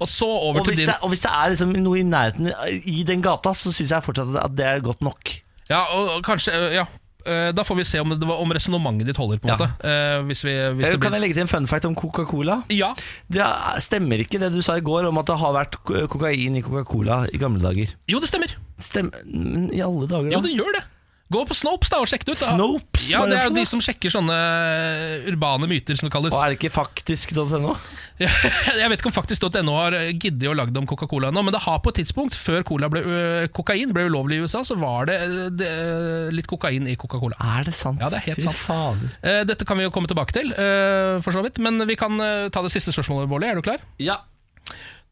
Og så over
Og
til
hvis,
din
det, og hvis det er liksom noe i nærheten i den gata, så syns jeg fortsatt at det er godt nok.
Ja, og og kanskje, øh, ja Eh, Da får vi se om, det var- om resonnementet ditt holder, på
Ja.
en måte. Eh, Hvis vi, hvis det
Kan jeg
blir...
legge til en fun fact om Coca-Cola?
Ja,
Det er- stemmer ikke det du sa i går om at det har vært ko- kokain i Coca-Cola i gamle dager.
jo, det stemmer.
Stem men I alle dager, da?
Jo, det gjør det. Gå på Snopes da og sjekk det ut. da.
Snopes,
Ja,
hva er
Det
det
er
for
jo
noe?
de som sjekker sånne eh, urbane myter, som det kalles.
og er det ikke faktisk.no?
(laughs) Jeg vet ikke om faktisk.no har eh, giddet å lage det om Coca-Cola ennå, men det har på et tidspunkt, før cola ble, øh, kokain ble ulovlig i USA, så var det, øh, det øh, litt kokain i Coca-Cola.
Er det sant?
Ja, det er helt
Fy
sant.
fader.
Eh, Dette kan vi jo komme tilbake til, eh, for så vidt. Men vi kan eh, ta det siste spørsmålet, Bårli. Er du klar?
Ja.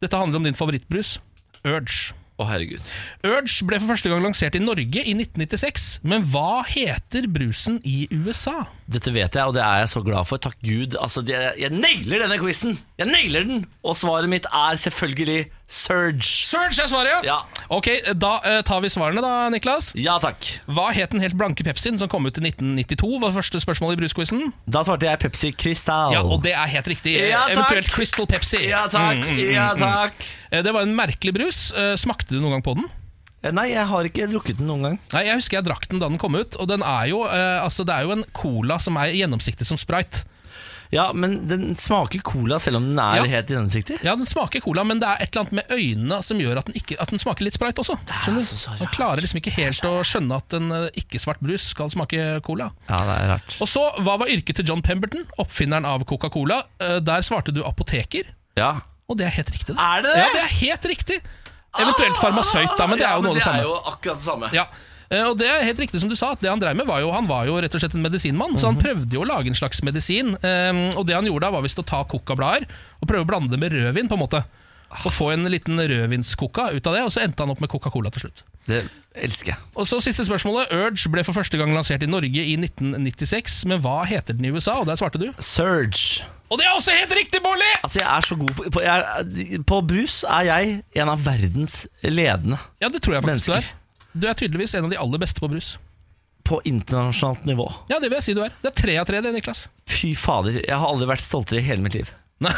Dette handler om din favorittbrus, Urge.
Å, herregud.
Urge ble for første gang lansert i Norge i 1996, men hva heter brusen i USA?
Dette vet jeg, og det er jeg så glad for. Takk Gud. Altså, det, jeg nailer denne quizen! Jeg nailer den! Og svaret mitt er selvfølgelig Surge.
Surge er svaret,
Ja.
Ok, Da eh, tar vi svarene, da, Niklas.
Ja takk.
Hva het den helt blanke Pepsien som kom ut i 1992? var første spørsmål i brusquizen.
Da svarte jeg Pepsi Crystal.
Ja, og det er helt riktig. Eh,
Ja, takk.
Eventuelt Crystal Pepsi.
Ja takk. Ja takk.
Eh, Det var en merkelig brus. Eh, Smakte du noen gang på den?
Eh, Nei, jeg har ikke drukket den noen gang.
Nei, Jeg husker jeg drakk den da den kom ut. Og den er jo, eh, altså, Det er jo en cola som er gjennomsiktig som sprite.
Ja, men den smaker cola selv om den er
Ja.
helt gjennomsiktig.
Ja, den smaker cola, men det er et eller annet med øynene som gjør at den, ikke, at den smaker litt sprite også. Skjønner
altså så
du? Man klarer liksom ikke helt å skjønne at en eh, ikke-svart brus skal smake cola.
Ja, det er rart.
Og så, hva var yrket til John Pemberton, oppfinneren av Coca-Cola? Eh, Der svarte du apoteker,
Ja.
og det er helt riktig.
Er det det?
Ja, det er helt riktig. Eventuelt farmasøyt, da, men det er jo noe av det samme.
akkurat det samme.
Ja. Eh, Og det er helt riktig som du sa, at det han drev med var jo, han var jo rett og slett en medisinmann, så han prøvde jo å lage en slags medisin. eh, og det han gjorde da, var visst å ta kokablader og prøve å blande det med rødvin, på en måte. Og få en liten rødvinskoka ut av det, og så endte han opp med Coca-Cola til slutt.
Det elsker jeg.
Og så siste spørsmålet. Urge ble for første gang lansert i Norge i 1996, men hva heter den i USA? Og der svarte du.
Surge.
Og det er også helt riktig, Bolli!
Altså, jeg er så god på På, jeg er, på brus er jeg en av verdens ledende
Ja, det tror jeg faktisk du er.
Mennesker.
Du er tydeligvis en av de aller beste på brus.
på internasjonalt nivå.
Ja, det vil jeg si du er. Det er tre av tre, det, Niklas. (laughs)
Fy fader, jeg har aldri vært stoltere i hele mitt liv.
Nei,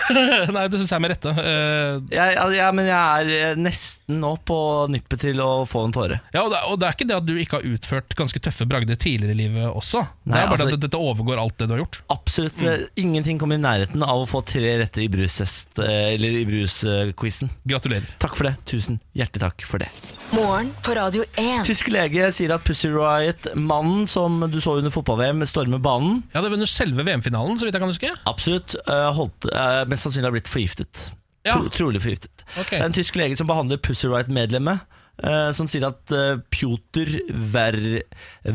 nei det syns jeg med rette. Eh,
Jeg, jeg, jeg, men jeg er eh, nesten nå på nippet til å få en tåre.
Ja, og det, og det er ikke det at du ikke har utført ganske tøffe bragder tidligere i livet også.
Nei,
det er bare
altså-
at dette overgår alt det du har gjort.
Absolutt.
Mm.
eh, Ingenting kommer i nærheten av å få tre rette i brustest, eh, eller i brusquizen.
Gratulerer.
Takk for det. Tusen hjertelig takk for det.
Morgen på Radio 1.
Tysk lege sier at Pussy Riot, mannen som du så under fotball-VM, stormer banen.
Ja, det var under selve VM-finalen, så vidt jeg kan huske.
Absolutt. eh, holdt, eh, mest sannsynlig har blitt forgiftet.
Ja.
Tro, trolig forgiftet.
Ok.
Det er en tysk lege som behandler Pussy Riot-medlemmet, eh, som sier at eh, Pjotr Ver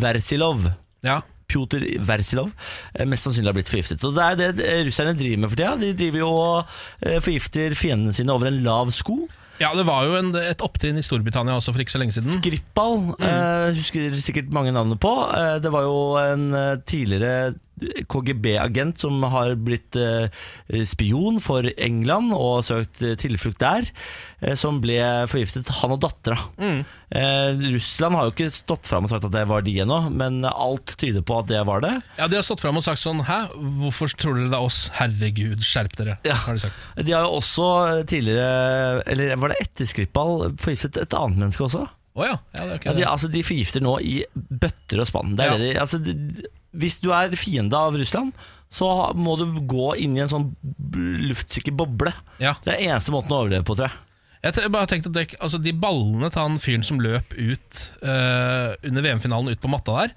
Versilov
Ja.
Pjotr Versilov eh, mest sannsynlig har blitt forgiftet. Og Det er det eh, russerne driver med for tida. De driver jo og eh, forgifter fiendene sine over en lav sko.
ja, det var jo en, et opptrinn i Storbritannia også for ikke så lenge siden.
Skripal eh, husker sikkert mange navnene på. Eh, det var jo en eh, tidligere KGB-agent som har blitt eh, spion for England og søkt eh, tilflukt der, eh, som ble forgiftet, han og dattera. Eh, Russland har jo ikke stått fram og sagt at det var de ennå, men alt tyder på at det var det.
Ja, De har stått fram og sagt sånn Hæ, hvorfor tror dere det er oss? Herregud, skjerp dere.
Ja.
har de sagt.
De har jo også tidligere, eller var det etter Skripal, forgiftet et annet menneske også?
Å ja. ja, det er ok
Ja, de,
det.
altså, de forgifter nå i bøtter og spann. Det er
Ja.
det de, altså, de, hvis du er fiende av Russland, så ha- må du gå inn i en sånn b- luftsikker boble.
Ja.
Det er eneste måten å overleve på, tror jeg.
Jeg te- bare tenkte at det, altså, De ballene til han fyren som løp ut eh, under VM-finalen ut på matta der,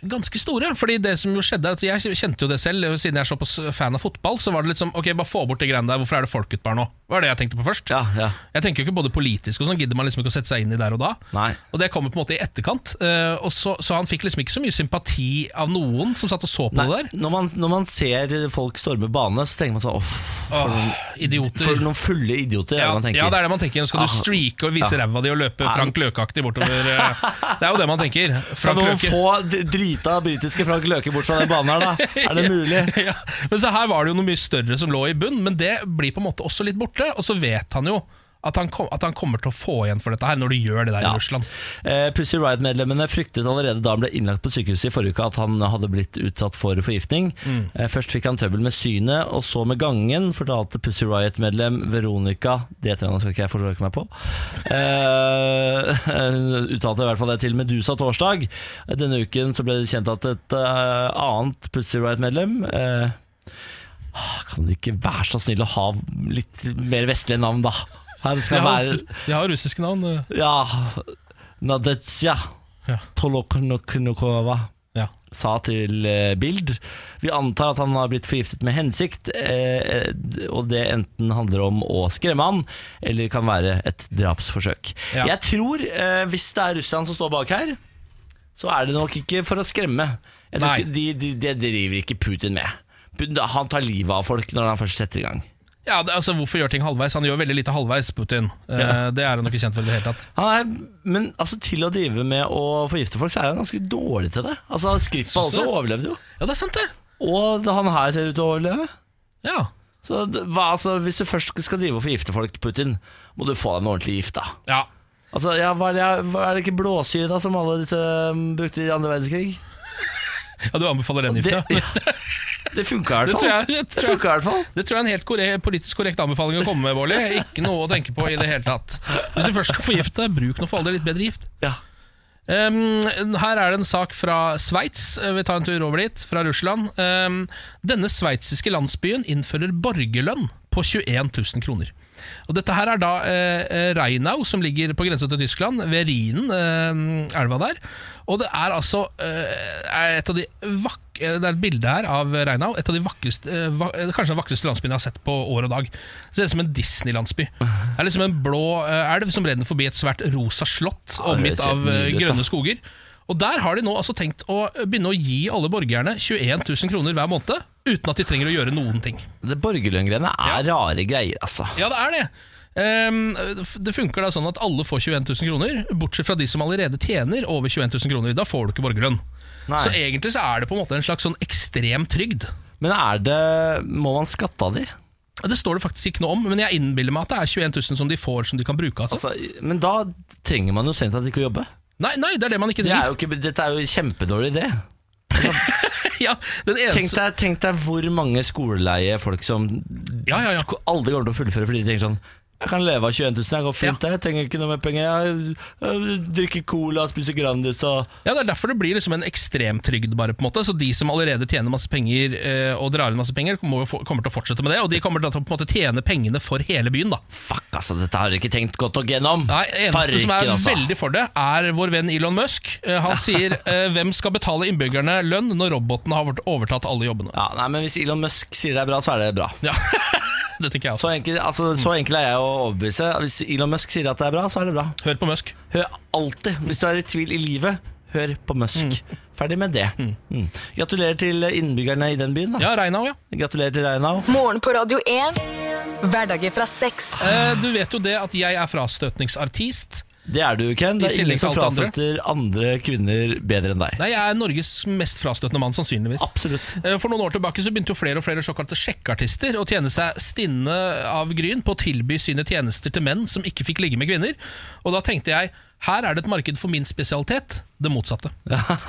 ganske store. Fordi det som jo skjedde er at Jeg kjente jo det selv, siden jeg er såpass fan av fotball. Så var det litt sånn Ok, bare få bort det greiene der. Hvorfor er det folk utpå her nå? Det var det jeg tenkte på først.
Ja, ja.
Jeg tenker jo ikke både politisk og sånn, gidder man liksom ikke å sette seg inn i der og da.
Nei.
Og det kommer på en måte i etterkant. eh, og så, så han fikk liksom ikke så mye sympati av noen som satt og så på
Nei,
det der.
når, man, når man ser folk storme bane, så tenker man sånn Åh,
Åh, idioter.
for noen fulle idioter. er det
ja,
man tenker.
ja, det er det man tenker. Skal
Ah,
du streake og vise
ja.
ræva di og løpe Frank Løke-aktig bortover eh,
(laughs)
Det er jo det man tenker.
Kan
Frank
noen
Løke.
få d- drita britiske Frank Løke bort fra den banen her, da? Er det mulig?
(laughs) ja. Men så her var det jo noe mye større som lå i bunn, men det blir på en måte også litt borte. Og så vet han jo at han, kom, at han kommer til å få igjen for dette her når du gjør det der
Ja.
i Russland.
Eh, Pussy Riot-medlemmene fryktet allerede da han ble innlagt på sykehuset i forrige uke at han hadde blitt utsatt for forgiftning. Eh, Først fikk han trøbbel med synet, og så med gangen, fortalte Pussy Riot-medlem Veronica Det trenet skal ikke jeg forsøke meg på. Eh, (laughs) hun uttalte i hvert fall det til Medusa torsdag. Denne uken så ble det kjent at et eh, annet Pussy Riot-medlem eh, ah, Kan de ikke være så snill å ha litt mer vestlige navn, da? Her
De
skal
har,
være
de har russiske navn. eh,
ja, Nadezja
Ja.
Toloknoknokova
Ja.
sa til eh, Bild. Vi antar at han har blitt forgiftet med hensikt, eh, eh, og det enten handler om å skremme han, eller kan være et drapsforsøk.
Ja.
Jeg tror, eh, hvis det er Russland som står bak her, så er det nok ikke for å skremme. Jeg tror
Nei.
ikke, de, de, det driver ikke Putin med. Putin- Han tar livet av folk når han først setter i gang.
Ja, det, altså Hvorfor gjør ting halvveis? Han gjør veldig lite halvveis, Putin. Eh,
Ja.
Det er han jo ikke kjent for i det hele tatt.
Han er, men altså, til å drive med å forgifte folk, så er han ganske dårlig til det. Altså, Skrippa
Synes du?
også overlevde jo.
Ja, det er sant, det!
Og det- han her ser ut til å overleve.
Ja,
Så det- hva, altså, Hvis du først skal drive og forgifte folk, Putin, må du få dem ordentlig gift, da.
ja.
Altså, ja, hva er, det, hva er det ikke blåsyre da som alle disse um, brukte i andre verdenskrig?
ja du anbefaler den
Det,
gifta?
ja, (laughs) det funka i hvert
Det
fall.
tror jeg- det tror jeg.
funka i hvert fall.
Det tror jeg er en helt korre- politisk korrekt anbefaling å komme med, Bårli. Ikke noe å tenke på i det hele tatt. Hvis du først skal forgifte, bruk nå for all del litt bedre gift.
Ja.
Um, her er det en sak fra Sveits. Eh, Vi tar en tur over dit, fra Russland. Um, denne sveitsiske landsbyen innfører borgerlønn på 21 000 kroner. Og dette her er da eh, Reinau, som ligger på grensa til Tyskland, ved Rhinen, eh, elva der. Og det er altså eh, er et av de vak eh, Det er et bilde her av Reinau. Et av de vakreste, eh, va eh, kanskje den vakreste landsbyen jeg har sett på år og dag. Ser ut som en Disney-landsby. Det er liksom en blå eh, elv som renner forbi et svært rosa slott,
Ja, det
omgitt
ser
av eh,
nydelig ut, da.
grønne skoger. Og Der har de nå altså tenkt å begynne å gi alle borgerne 21 000 kroner hver måned, uten at de trenger å gjøre noen ting.
Det borgerlønngreiene er rare greier, altså.
Ja, det er det. Ehm, det funker da sånn at alle får 21 000 kroner, bortsett fra de som allerede tjener over 21 000 kroner. Da får du ikke borgerlønn.
Nei.
Så egentlig så er det på en måte en slags sånn ekstrem trygd.
Men er det Må man skatte av de?
Det står det faktisk ikke noe om, men jeg innbiller meg at det er 21 000 som de får som de kan bruke. Altså.
Altså, men da trenger man jo strengt tatt ikke å jobbe.
Nei, nei, det er det man ikke
Det er
driver
jo ikke, dette er jo en kjempedårlig idé.
(laughs) ja, den
Tenk
eneste,
deg, tenk deg hvor mange skoleleie folk som
ja, ja, ja.
aldri kommer til å fullføre fordi de tenker sånn jeg kan leve av 21 000, jeg går fint, jeg trenger ikke noe mer penger. Jeg, jeg drikker cola, spiser Grandis og
ja, Det er derfor det blir liksom en ekstremtrygd. bare på en måte Så De som allerede tjener masse penger eh, og drar inn masse penger, må jo få, kommer til å fortsette med det. Og de kommer til å på en måte tjene pengene for hele byen. da
Fuck, altså, dette har dere ikke tenkt godt nok gjennom.
Nei, eneste som er
Farken, altså.
veldig for det, er vår venn Elon Musk. Eh, Han sier eh, 'Hvem skal betale innbyggerne lønn når robotene har overtatt alle jobbene'?
Ja, nei, men Hvis Elon Musk sier det er bra, så er det bra.
Ja. (laughs) det tenker jeg også.
Så enkel, altså, så
Mm.
enkel er jeg å overbevise. Hvis Elon Musk sier at det er bra, så er det bra.
Hør på Musk.
Hør alltid, hvis du er i tvil i livet, hør på Musk. Ferdig med det. Mm. Gratulerer til innbyggerne i den byen. Da.
Ja, Reinau, ja.
Gratulerer til Reinau.
Morgen på Radio 1. Hverdager fra seks.
Eh, du vet jo det at jeg er frastøtningsartist.
Det er du, Ken. Det
I
er
tillegg
ingen som
til alt andre.
frastøtter andre kvinner bedre enn deg.
Nei, jeg er Norges mest frastøtende mann, sannsynligvis.
Absolutt.
Eh, For noen år tilbake så begynte jo flere og flere såkalte sjekkeartister å tjene seg stinne av gryn på å tilby sine tjenester til menn som ikke fikk ligge med kvinner. Og da tenkte jeg her er det et marked for min spesialitet, det
(laughs)
motsatte.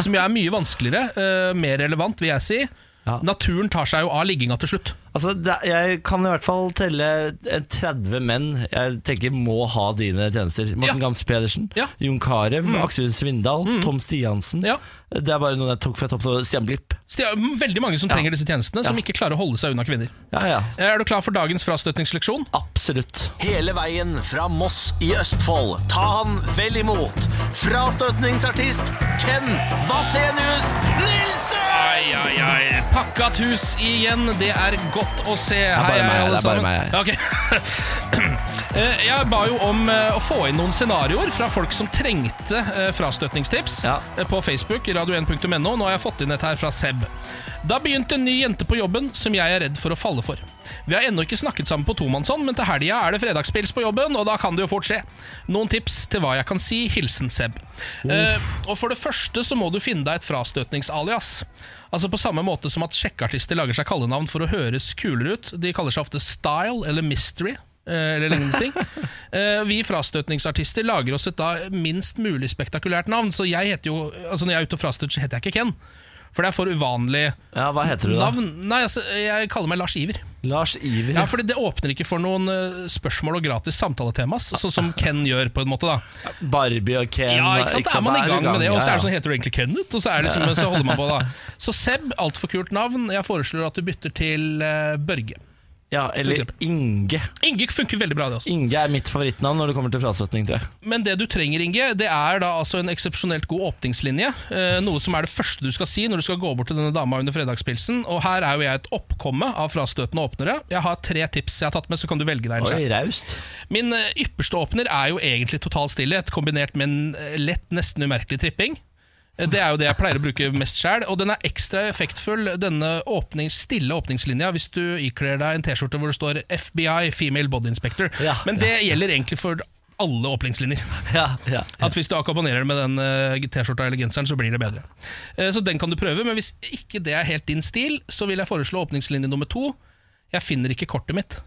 Som jo er mye vanskeligere, eh, mer relevant, vil jeg si.
Ja.
Naturen tar seg jo av ligginga til slutt.
Altså, det, jeg kan i hvert fall telle en 30 menn jeg tenker må ha dine tjenester. Morten
Ja.
Gams Pedersen,
Ja. Mm.
Jon Carew, Aksel Svindal, Tom Stiansen.
Ja.
Det er bare noen jeg tok fra topp til Stian Blipp.
Så det er jo veldig mange som trenger disse tjenestene, som ikke klarer å holde seg unna kvinner.
Ja, ja.
Eh, Er du klar for dagens frastøtningsleksjon?
Absolutt.
Hele veien fra Moss i Østfold. Ta han vel imot. Frastøtningsartist Ken Vasenius Nilsen!
Ai, ai, ai. Pakkat hus igjen, det er godt å se. Det
bare meg, det er bare meg.
(clears throat) Jeg ba jo om eh, å få inn noen scenarioer fra folk som trengte eh, frastøtningstips
Ja.
eh, på Facebook, radio1.no. Nå har jeg fått inn et her fra Seb. Da begynte en ny jente på jobben som jeg er redd for å falle for. Vi har ennå ikke snakket sammen på tomannshånd, men til helga er det fredagspils på jobben, og da kan det jo fort skje. Noen tips til hva jeg kan si? Hilsen Seb. Eh, og for det første så må du finne deg et frastøtningsalias. Altså På samme måte som at sjekkeartister lager seg kallenavn for å høres kulere ut. De kaller seg ofte Style eller Mystery. eh, Eller lignende ting Eh, Vi frastøtningsartister lager oss et da minst mulig spektakulært navn. Så jeg heter jo Altså når jeg er ute og frastøter, så heter jeg ikke Ken. For det er for uvanlig
Ja, Hva heter du, da?
navn. Nei, altså, jeg kaller meg Lars Iver.
Lars Iver.
Ja, fordi Det åpner ikke for noen eh, spørsmål og gratis samtaletemas, sånn som Ken gjør. på en måte da
Barbie og Ken.
ja, ikke sant? Da er man i
Da
gang med det, og så er det
ja,
sånn, heter du egentlig Kenneth? Og så, er det liksom, så holder man på da (laughs) Så Seb, altfor kult navn. Jeg foreslår at du bytter til eh, Børge.
ja. ja, Eller
eksempel.
Inge.
Inge funker veldig bra, det også.
Inge er mitt favorittnavn når det kommer til frastøtning, tror jeg.
Men det du trenger, Inge, det er da altså en eksepsjonelt god åpningslinje. eh, Noe som er det første du skal si når du skal gå bort til denne dama under fredagspilsen. Og her er jo jeg et oppkomme av frastøtende åpnere. Jeg har tre tips jeg har tatt med, så kan du velge deg en sjef.
Oi, raust.
Min eh, ypperste åpner er jo egentlig total stillhet, kombinert med en eh, lett, nesten umerkelig tripping. Eh, Det er jo det jeg pleier å bruke mest sjæl, og den er ekstra effektfull, denne åpning, stille åpningslinja, hvis du ikler deg en T-skjorte hvor det står FBI, Female Body Inspector.
Ja,
Men det gjelder egentlig for alle åpningslinjer.
Ja, ja.
At hvis du akkompagnerer det med den eh, T-skjorta eller genseren, så blir det bedre. Eh, Så den kan du prøve, men hvis ikke det er helt din stil, så vil jeg foreslå åpningslinje nummer to. Jeg finner ikke kortet mitt.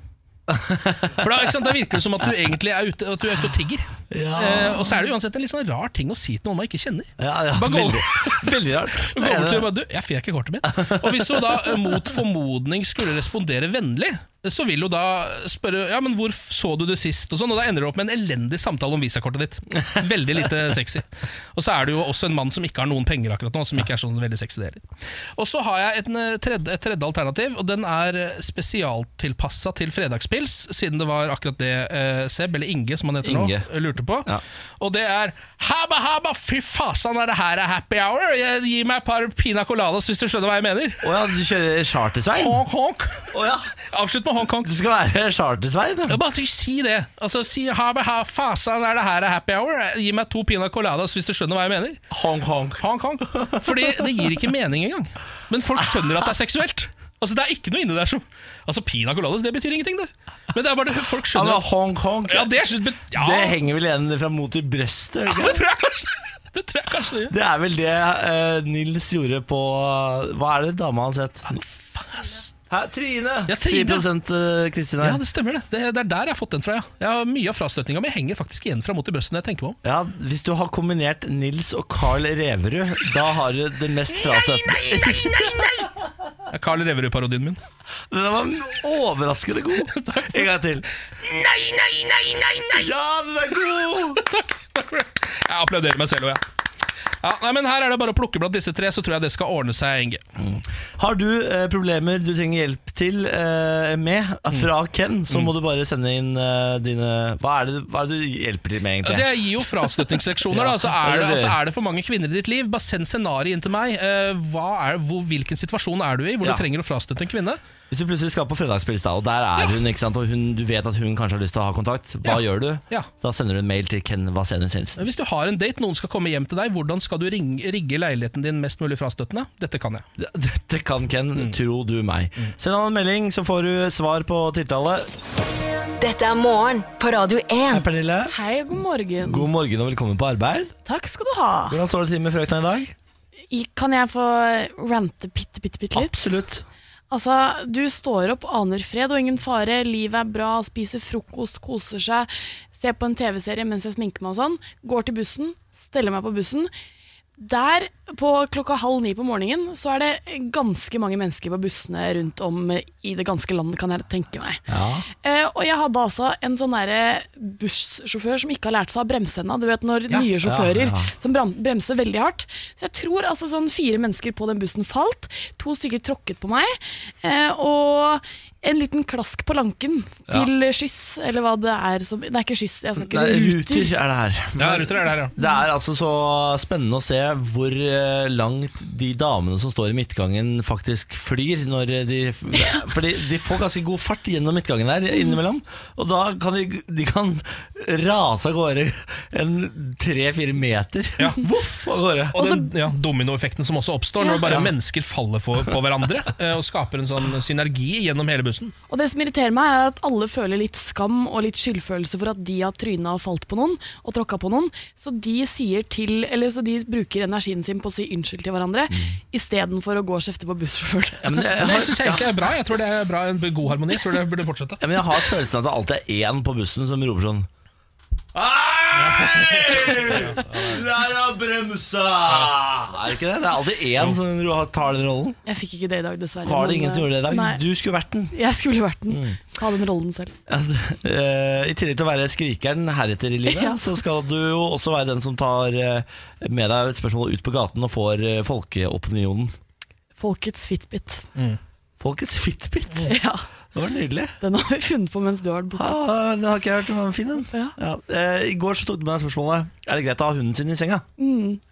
For da, ikke sant, da virker det som at du egentlig er ute, at du er ute og tigger.
Ja.
Eh, og så er det uansett en litt sånn rar ting å si til noen man ikke kjenner.
ja, ja.
Bare gå-
Veldig, veldig rart.
Du går over til og bare, du, jeg fikk ikke kortet mitt. Og hvis hun da eh, mot formodning skulle respondere vennlig, så vil hun da spørre ja, men hvor f- så du det sist, og sånn, og da ender det opp med en elendig samtale om visakortet ditt. Veldig lite sexy. Og så er du jo også en mann som ikke har noen penger akkurat nå, som ikke er sånn veldig sexy det heller. Og så har jeg et eh, tredje, et tredje alternativ, og den er eh, spesialtilpassa til fredagspils, siden det var akkurat det eh, Seb, eller Inge som han heter nå,
Inge.
lurte på.
Ja.
Og det er Habba, habba, fy fasan, er det her er happy hour? Jeg- Gi meg et par pina coladas, hvis du skjønner hva jeg mener.
Å ja, du kjører chartersvein?
Honk, honk.
Å ja.
Avslutt med honk, honk.
Du skal være chartersvein?
Ja,
ja.
Bare ikke si det. Altså, si habba, ha, fasan, er det her er happy hour? Gi meg to pina coladas, hvis du skjønner hva jeg mener.
Honk, honk.
Honk, honk. Fordi det gir ikke mening engang. Men folk skjønner at det er seksuelt. Altså, det er ikke noe inni der som Altså, pina coladas, det betyr ingenting, det. Men det er bare det folk
Ja,
skjønner.
men honk, honk.
Ja, det, er, ja.
Det henger vel igjen fra mot til brøstet? gjør det ikke
det tror jeg kanskje. (laughs) Det tror jeg kanskje det gjør.
Det er vel det eh, Nils gjorde på Hva er det dama hans het? Hæ, Trine!
Ja, Trine.
Sier produsent eh, Kristin her.
Ja, det stemmer det. det. Det er der jeg har fått den fra, ja. Jeg har Mye av frastøtninga mi henger faktisk igjen fra mot i brøstet når jeg tenker meg om.
Ja, Hvis du har kombinert Nils og Carl Reverud, da har du det mest frastøtende.
Det er Carl Reverud-parodien min. (laughs)
Den var overraskende god. En gang til. Ja, den er god!
Takk, takk for det. Jeg applauderer meg selv òg, jeg. Ja, nei, men her er det bare å plukke blant disse tre, så tror jeg det skal ordne seg. Inge.
Har du eh, problemer du trenger hjelp til eh, med
Mm.
fra Ken, så må du bare sende inn eh, dine Hva er, det, hva er det du hjelper til med, egentlig?
Altså, jeg gir jo frastøtningsleksjoner,
Ja,
da. Så er, det,
det er det.
altså, er det for mange kvinner i ditt liv? Bare send scenarioet inn til meg. Eh, hva er, hvor, hvilken situasjon er du i hvor
Ja.
du trenger å frastøtte en kvinne?
Hvis du plutselig skal på fredagspils, da, og der er hun, ikke sant, og hun, du vet at hun kanskje har lyst til å ha kontakt, hva
Ja.
gjør du?
Ja.
Da sender du en mail til Ken Vasenus Jensen.
Hvis du har en date, noen skal komme hjem til deg, hvordan skal du ring- rigge leiligheten din mest mulig frastøtende? Dette kan jeg.
D- Dette kan Ken, tro du meg. Send han en melding, så får du svar på tiltale.
Dette er morgen på Radio 1.
Hei, Pernille.
Hei, god morgen.
God morgen og velkommen på arbeid.
Takk skal du ha.
Hvordan står det til med frøkna i dag?
I- Kan jeg få rante bitte, bitte, bitte litt?
Absolutt.
Altså, du står opp, aner fred og ingen fare, livet er bra, spiser frokost, koser seg, ser på en TV-serie mens jeg sminker meg og sånn, går til bussen, steller meg på bussen. Der, på klokka halv ni på morgenen, så er det ganske mange mennesker på bussene rundt om i det ganske landet, kan jeg tenke meg. Eh, og jeg hadde altså en sånn derre bussjåfør som ikke har lært seg å bremse ennå. Du vet når nye sjåfører
ja.
som bram- bremser veldig hardt. Så jeg tror altså sånn fire mennesker på den bussen falt. To stykker tråkket på meg. Eh, og en liten klask på lanken til skyss, eller hva det er som Det er ikke skyss, jeg
Nei,
snakker
ruter
ruter.
er det her.
ruter er det her, ja.
Det er altså så spennende å se hvor eh, langt de damene som står i midtgangen faktisk flyr når de
(laughs)
Fordi de får ganske god fart gjennom midtgangen der innimellom. Og da kan de, de kan rase av gårde en tre-fire meter.
Ja.
(laughs) Voff av gårde.
Og den ja, dominoeffekten som også oppstår når bare mennesker faller for, på
(laughs)
hverandre eh, og skaper en sånn synergi gjennom hele bussen.
Og det som irriterer meg, er at alle føler litt skam og litt skyldfølelse for at de har tryna og falt på noen og tråkka på noen, så de sier til Eller så de bruker energien sin på å si unnskyld til hverandre istedenfor å gå og kjefte på bussjåføren.
Mm. Ja, men jeg,
Det
har,
syns jeg egentlig er bra. Jeg tror det er bra, en god harmoni. Jeg tror det burde fortsette.
(laughs) ja, men jeg har følelsen av at det alltid er én på bussen som roper sånn Hei! Lær å bremse! Er det ikke det? Det er alltid én som tar den rollen.
Jeg fikk ikke det i dag, dessverre.
Var det
men,
ingen som
eh,
gjorde det i dag? Mm.
Nei.
Du skulle vært den.
Jeg skulle vært den. Ta den rollen selv.
Ja, d- eh, I tillegg til å være skrikeren heretter i livet,
Ja.
så skal du jo også være den som tar eh, med deg et spørsmål ut på gaten og får eh, folkeopinionen.
Folkets fitbit. (laughs)
Folkets fitbit!
Ja,
Det var nydelig.
Den har vi funnet på mens du har vært borte.
Ah, det har ikke jeg hørt. Den var fin, den.
Ja.
Eh, I går så tok du med deg spørsmålet Er det greit å ha hunden sin i senga.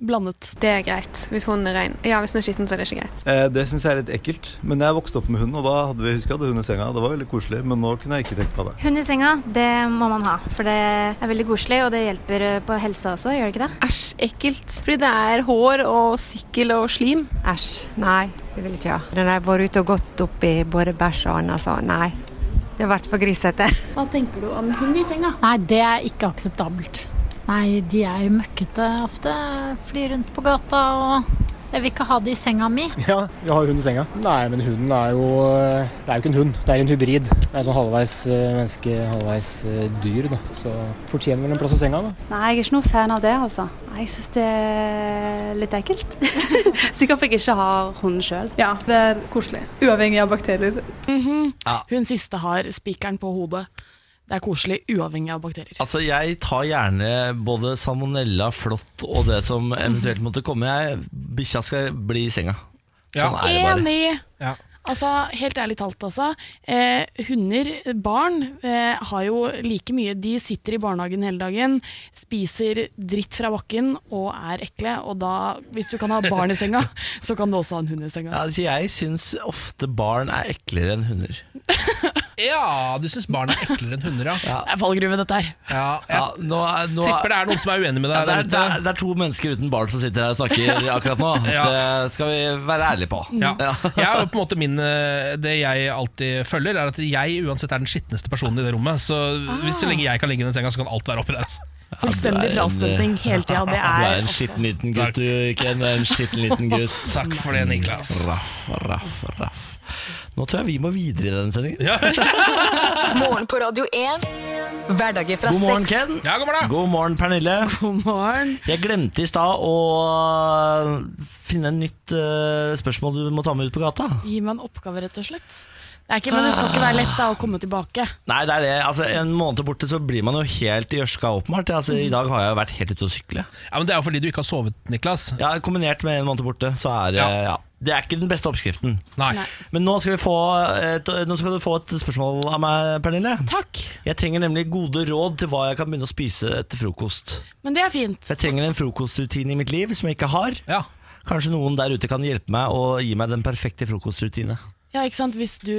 Blandet.
Det er greit. Hvis hunden er rein. Ja, hvis den er skitten, så er det ikke greit.
Eh, Det syns jeg er litt ekkelt. Men jeg vokste opp med hund, og da hadde vi huska hund i senga. Det var veldig koselig, men nå kunne jeg ikke tenkt på det.
Hund i senga, det må man ha. For det er veldig koselig, og det hjelper eh, på helsa også, gjør det ikke det?
Æsj, ekkelt. Fordi det er hår og sykkel og slim.
Æsj. Nei, det vil jeg ikke ha. Den har vært ute og gått opp i både bæsj og annet, så nei. Det har vært for grisete.
Hva tenker du om hund i senga? Nei, det er ikke akseptabelt. Nei, de er jo møkkete ofte. Flyr rundt på gata og Jeg vil ikke ha det i senga mi.
Ja, vi har hund i senga. Nei, men hunden er jo Det er jo ikke en hund, det er en hybrid. Det er sånn halvveis menneske, halvveis dyr, da. Så fortjener vel en plass i senga, da.
(laughs) Nei, jeg er ikke noen fan av det, altså. Jeg syns det er litt ekkelt. (laughs) Sikkert for jeg ikke har hund sjøl. Ja, det er koselig. Uavhengig av bakterier.
Hun siste har spikeren på hodet. Det er koselig, uavhengig av bakterier.
Altså, jeg tar gjerne både salmonella, flått og det som eventuelt måtte komme. Jeg- Bikkja skal bli i senga. Sånn
Ja.
er det bare.
Enig!
Ja.
Altså, Helt ærlig talt, altså. Eh, hunder, barn, eh, har jo like mye De sitter i barnehagen hele dagen, spiser dritt fra bakken og er ekle. Og da, hvis du kan ha barn i senga, (laughs) så kan du også ha en hund i senga.
Ja, altså, jeg syns ofte barn er eklere enn hunder.
Ja, du syns barn er eklere enn hunder, ja.
Det er fallgruve, dette her.
ja.
Ja,
Jeg
nå, er- nå, er-
tipper det er noen som er uenig med
Ja, det,
deg. der
er, det,
ute.
er, det er to mennesker uten barn som sitter her og snakker akkurat nå.
Ja.
Det skal vi være ærlige på.
Ja. jeg er jo på en måte min, eh, det jeg alltid følger, er at jeg uansett er den skitneste personen i det rommet. Så hvis
Ah.
så lenge jeg kan ligge i den senga, så kan alt være oppi der. Altså.
Ja,
Fullstendig
du er en-
frastøtning hele
(laughs)
tida.
Du
Det er
er en skitten liten gutt, du, Ken. Du er en skitten liten gutt.
Takk for
Mm.
det, Niklas.
Raff, raff, raff. Nå tror jeg vi må videre i denne sendingen.
Ja,
Morgen på Radio 1. Hverdager fra
God morgen,
seks.
Ken.
ja god morgen.
God morgen, Pernille.
God morgen.
Jeg glemte i stad å finne et nytt eh, spørsmål du må ta med ut på gata.
Gi meg en oppgave, rett og slett. Det er ikke, men det skal ikke være lett da, å komme tilbake.
Nei, det er det. Altså, en måned borte så blir man jo helt gjørska, åpenbart. Altså, I dag har jeg jo vært helt ute å sykle.
Ja, men det er jo fordi du ikke har sovet, Niklas.
Ja, kombinert med en måned borte, så er det ja.
Ja.
Det er ikke den beste oppskriften.
Nei.
Men nå skal, vi få eh, et, nå skal du få et spørsmål av meg, Pernille.
Takk,
Jeg trenger nemlig gode råd til hva jeg kan begynne å spise etter frokost.
men det er fint.
Jeg trenger en frokostrutine i mitt liv som jeg ikke har.
Ja.
Kanskje noen der ute kan hjelpe meg og gi meg den perfekte frokostrutine.
Ja, ikke sant? Hvis du,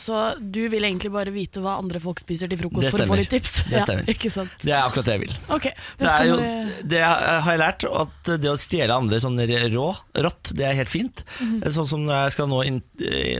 så du vil egentlig bare vite hva andre folk spiser til frokost
Det
for å få
stemmer.
litt tips?
Det stemmer.
Ja, ikke sant?
Det er akkurat det jeg vil.
Ok,
Det, er
skal
jo,
du-
det har jeg lært, at det å stjele andre sånn rå, rått, det er helt fint.
Mhm.
Sånn som når jeg skal nå inn- eh,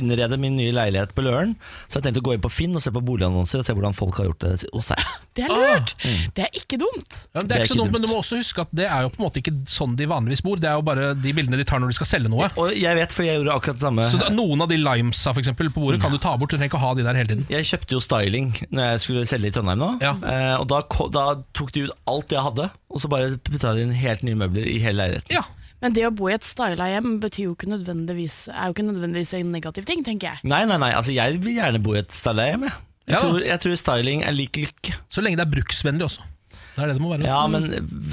innrede min nye leilighet på Løren, så har jeg tenkt å gå inn på Finn og se på boligannonser og se hvordan folk har gjort det hos seg.
Det er lurt!
Mm.
Det er ikke dumt.
Ja, men det er ikke så dumt, men du må også huske at det er jo på en måte ikke sånn de vanligvis bor. Det er jo bare de bildene de tar når de skal selge noe.
Og jeg vet, for jeg gjorde akkurat det samme.
Så da, noen av de limesa for eksempel, på bordet kan du ta bort. Du trenger ikke å ha de der hele tiden.
Jeg kjøpte jo styling når jeg skulle selge i Trondheim nå. Eh, og da, ko- da tok de ut alt jeg hadde, og så bare putta de inn helt nye møbler i hele leiligheten.
Men det å bo i et styla hjem betyr jo ikke nødvendigvis, er jo ikke nødvendigvis en negativ ting, tenker jeg.
Nei, nei, nei, altså jeg vil gjerne bo i et styla hjem, jeg. Jeg,
Ja da.
tror, jeg tror styling er lik lykke.
Så lenge det er bruksvennlig også. Det er det det må være.
Ja, men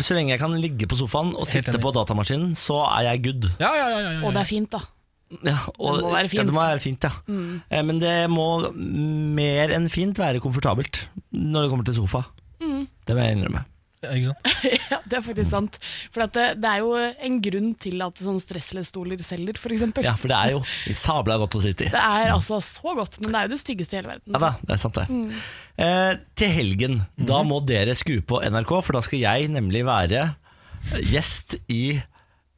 så lenge jeg kan ligge på sofaen og sitte på datamaskinen, så er jeg good.
Ja, ja, ja,
Og det er fint, da. (laughs)
og,
Det må være
Ja,
fint.
det må være fint, ja.
Mm.
Eh, Men det må mer enn fint være komfortabelt når det kommer til sofa.
Mm.
Det må jeg innrømme.
(laughs) Ikke sant?
Ja, det er faktisk sant. For at det, det er jo en grunn til at sånn stressless-stoler selger, f.eks.
Ja, for det er jo sabla godt å sitte i.
Det er altså så godt, men det er jo det styggeste i hele verden.
Ja da, det er sant det.
Mm. Mhm.
Eh, til helgen, da må dere skru på NRK, for da skal jeg nemlig være gjest i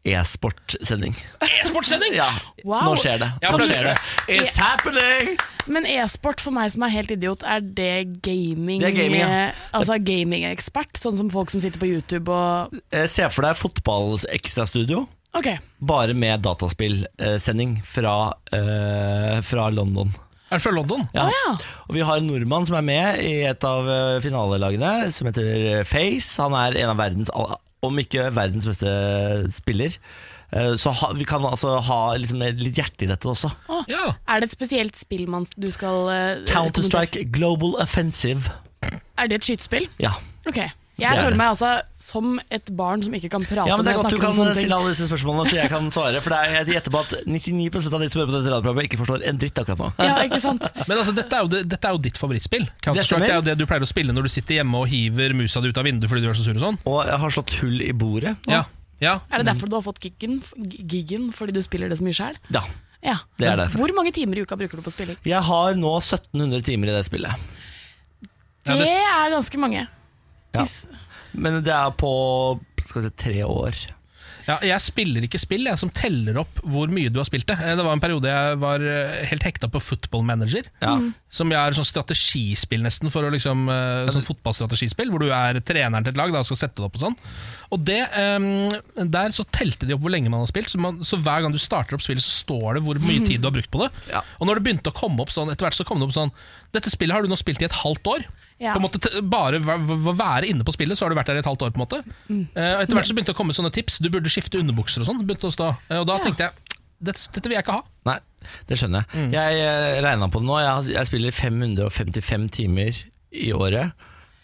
e-sportsending.
E-sportsending!
Ja,
Wow.
nå skjer det.
Ja,
Nå
men-
skjer det. It's happening!
Men e-sport for meg som er helt idiot, er det gaming?
Det er gaming, ja.
eh, Altså gamingekspert, sånn som folk som sitter på YouTube og
Eh, Se for deg fotballekstrastudio,
Ok,
bare med dataspillsending fra, eh, fra London.
Er det fra London?
Ja. Og vi har en nordmann som er med i et av eh, finalelagene, som heter Face. Han er en av verdens, all- om ikke verdens beste spiller. Eh, Så ha, vi kan altså ha liksom litt hjerte i dette også.
Å, Er det et spesielt spill man du skal eh,
Counter-Strike Global Offensive.
kommentere? Er det et skytespill?
Ja.
Ok.
Det er
Jeg føler
det.
meg altså som et barn som ikke kan prate
ja, men Det er
når
godt du
jeg snakker
kan
om sånne ting. (laughs)
stille alle disse spørsmålene, så jeg kan svare. For det er, jeg gjetter på at 99 av de som hører på dette radioprogrammet, ikke forstår en dritt akkurat nå.
Men altså, dette er jo, det- dette er jo ditt favorittspill.
Det
Counter-Strike
stemmer.
det er jo det du pleier å spille når du sitter hjemme og hiver musa di ut av vinduet fordi du er så sur og sånn.
Og jeg har slått hull i bordet.
Ja. Ja.
Er det derfor du har fått giggen, g- giggen fordi du spiller det så mye sjøl?
Ja.
Ja.
Det er derfor.
Hvor mange timer i uka bruker du på spilling?
Jeg har nå 1700 timer i det spillet. Ja, det-
Det er ganske mange.
Ja. Men det er på skal vi si, tre år.
Ja, jeg spiller ikke spill jeg, som teller opp hvor mye du har spilt det. Eh, Det var en periode jeg var eh, helt hekta på Football Manager.
Ja. Mhm.
Som jeg er sånn strategispill nesten, for å liksom, eh, sånn fotballstrategispill, hvor du er treneren til et lag da, og skal sette det opp og sånn. Og det, eh, Der så telte de opp hvor lenge man har spilt, så, man, så hver gang du starter opp spillet, så står det hvor mye
Mhm.
tid du har brukt på det. Og når det begynte å komme opp sånn, etter hvert så kom det opp sånn Dette spillet har du nå spilt i et halvt år.
Ja.
På en måte t- Bare v- v- være inne på spillet, så har du vært der i et halvt år. på en måte Eh, Og Etter hvert så begynte det å komme sånne tips. Du burde skifte underbukser og sånn. begynte å stå Eh, Og da tenkte jeg dette, dette vil jeg ikke ha.
Nei, det skjønner jeg. Jeg regna på det nå. Jeg, har- jeg spiller 555 timer i året.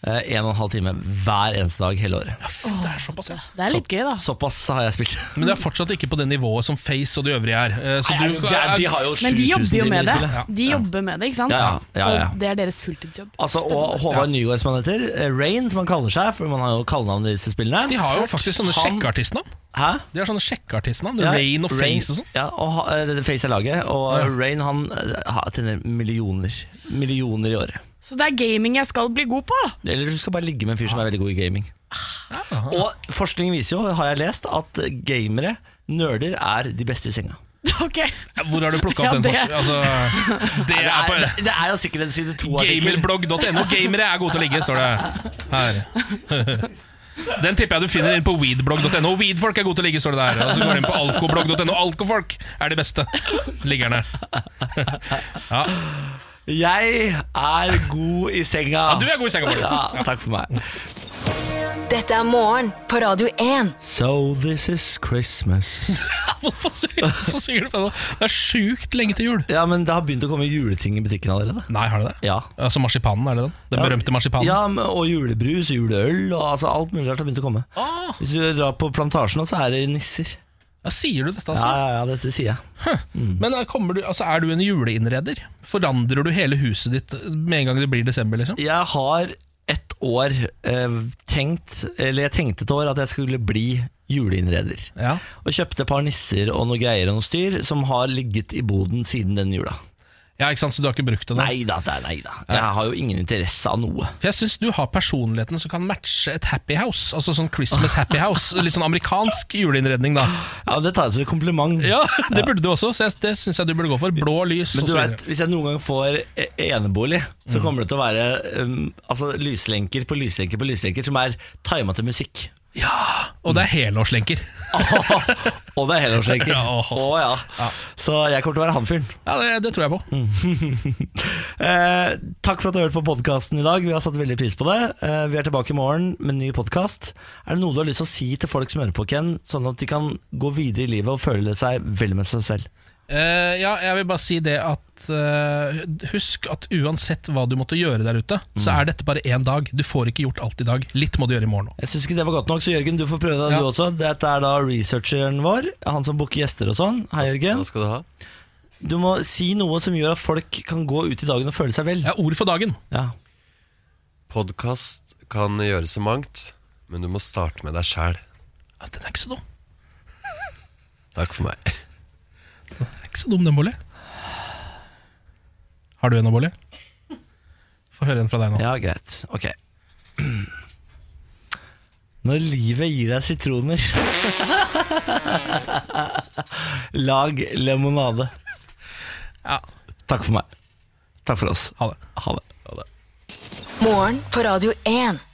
Eh, En og en halv time hver eneste dag hele året.
det er såpass, ja.
Det er litt gøy, da.
Såpass har jeg spilt.
Men du er fortsatt ikke på det nivået som Face og de øvrige er. Eh, så
Nei, (laughs)
du-
de- de har jo
Men de
7000
jobber
timer
jo
i
med det.
spillet. Ja.
De jobber med det, ikke sant?
Ja, ja, ja, ja.
Så det er deres fulltidsjobb.
Altså, og Håvard Nygaard, som han heter. eh, Rain, som han kaller seg. For man har jo kallenavn i disse spillene.
De har jo faktisk sånne
Han-
sjekkeartistnavn.
Hæ?
De har sånne sjekkeartistnavn. Rain og Face og sånn.
Ja, og ha- eh, Face er laget. Og
Ja.
Rain han eh, ha- tjener millioner. Millioner i året.
Så det er gaming jeg skal bli god på! (laughs)
Eller du skal bare ligge med en fyr som er veldig god i gaming.
Ah.
Og forskning viser jo, har jeg lest, at gamere, nerder, er de beste i senga.
Ok.
Hvor har du plukket opp
Ja,
den
det-
(laughs)
forskjellen? Altså, det,
Nei,
er på
det, det er jo sikkert en side to-artikkel.
Gamerblogg.no. Gamere er gode til å ligge, står det her. (laughs) Den tipper jeg du finner inn på weedblogg.no. Weedfolk er gode til å ligge, står det der. Og så går du inn på alkoblogg.no. Alkofolk er de beste liggerne. Ja.
Jeg er god i senga.
Ja, du er god i senga, Bård.
Ja, takk for meg.
Dette er morgen på Radio 1.
So this is Christmas.
(laughs) Hvorfor synger, hvorfor synger du på det? Det er sjukt lenge til jul.
Ja, men det har begynt å komme juleting i butikken allerede.
Nei, har det det?
Ja.
Altså marsipanen, er det den? Den berømte marsipanen?
Ja, men- og julebrus og juleøl og altså alt mulig rart har begynt å komme. Hvis du drar på plantasjen nå, så er det nisser.
Ja, sier du dette, altså?
Ja, ja, ja, dette sier jeg.
Men eh, kommer du, altså, er du eh, en juleinnreder? Forandrer du hele huset ditt med en gang det blir desember? liksom?
Jeg har ett år eh, tenkt, eller jeg tenkte et år, at jeg skulle bli juleinnreder. Og kjøpte et par nisser og noe greier og noe styr, som har ligget i boden siden den jula.
Ja, ikke sant, Så du har ikke brukt det?
Nei da, nei da. Jeg har jo ingen interesse av noe.
For jeg syns du har personligheten som kan matche et happy house. Altså sånn Christmas happy house. Litt sånn amerikansk juleinnredning,
(laughs)
da.
Ja, det tar jeg som et kompliment.
Ja, Det burde du også, så jeg, det syns jeg du burde gå for. Blå lys
Men
og
du
så videre.
vet, hvis jeg noen gang får e- enebolig, så
Mm.
kommer det til å være um, altså, lyslenker på lyslenker på lyslenker som er tima til
(laughs)
musikk.
Og det er helårslenker.
Og det er helårslenker.
Ja,
Å ja. Så jeg kommer til å være han fyren. (laughs)
Ja, det, det tror jeg på.
Mm. Eh, takk for at du har hørt på podkasten i dag. Vi har satt veldig pris på det. Eh, vi er tilbake i morgen med en ny podkast. Er det noe du har lyst til å si til folk som hører på, Ken, sånn at de kan gå videre i livet og føle seg vel med seg selv?
Eh, ja, jeg vil bare si det at eh, Husk at uansett hva du måtte gjøre der ute, så
Mm.
er dette bare én dag. Du får ikke gjort alt i dag. Litt må du gjøre i morgen òg.
Jeg syns ikke det var godt nok, så Jørgen, du får prøve deg du også. Dette er da researcheren vår, han som booker gjester og sånn. Hei, Jørgen.
Hva skal du ha?
Du må si noe som gjør at folk kan gå ut i dagen og føle seg vel.
Ja, ord for dagen.
Ja.
Podkast kan gjøre så mangt, men du må starte med deg sjæl.
Den er ikke så dum.
Takk for meg.
Den er ikke så dum, den, Bolli. Har du en, Bolli? Få høre en fra deg nå.
Ja, greit. Ok. Når livet gir deg sitroner (laughs) Lag lemonade. Takk for meg. Takk for oss.
Ha det.
Ha det.
Morgen på Radio 1.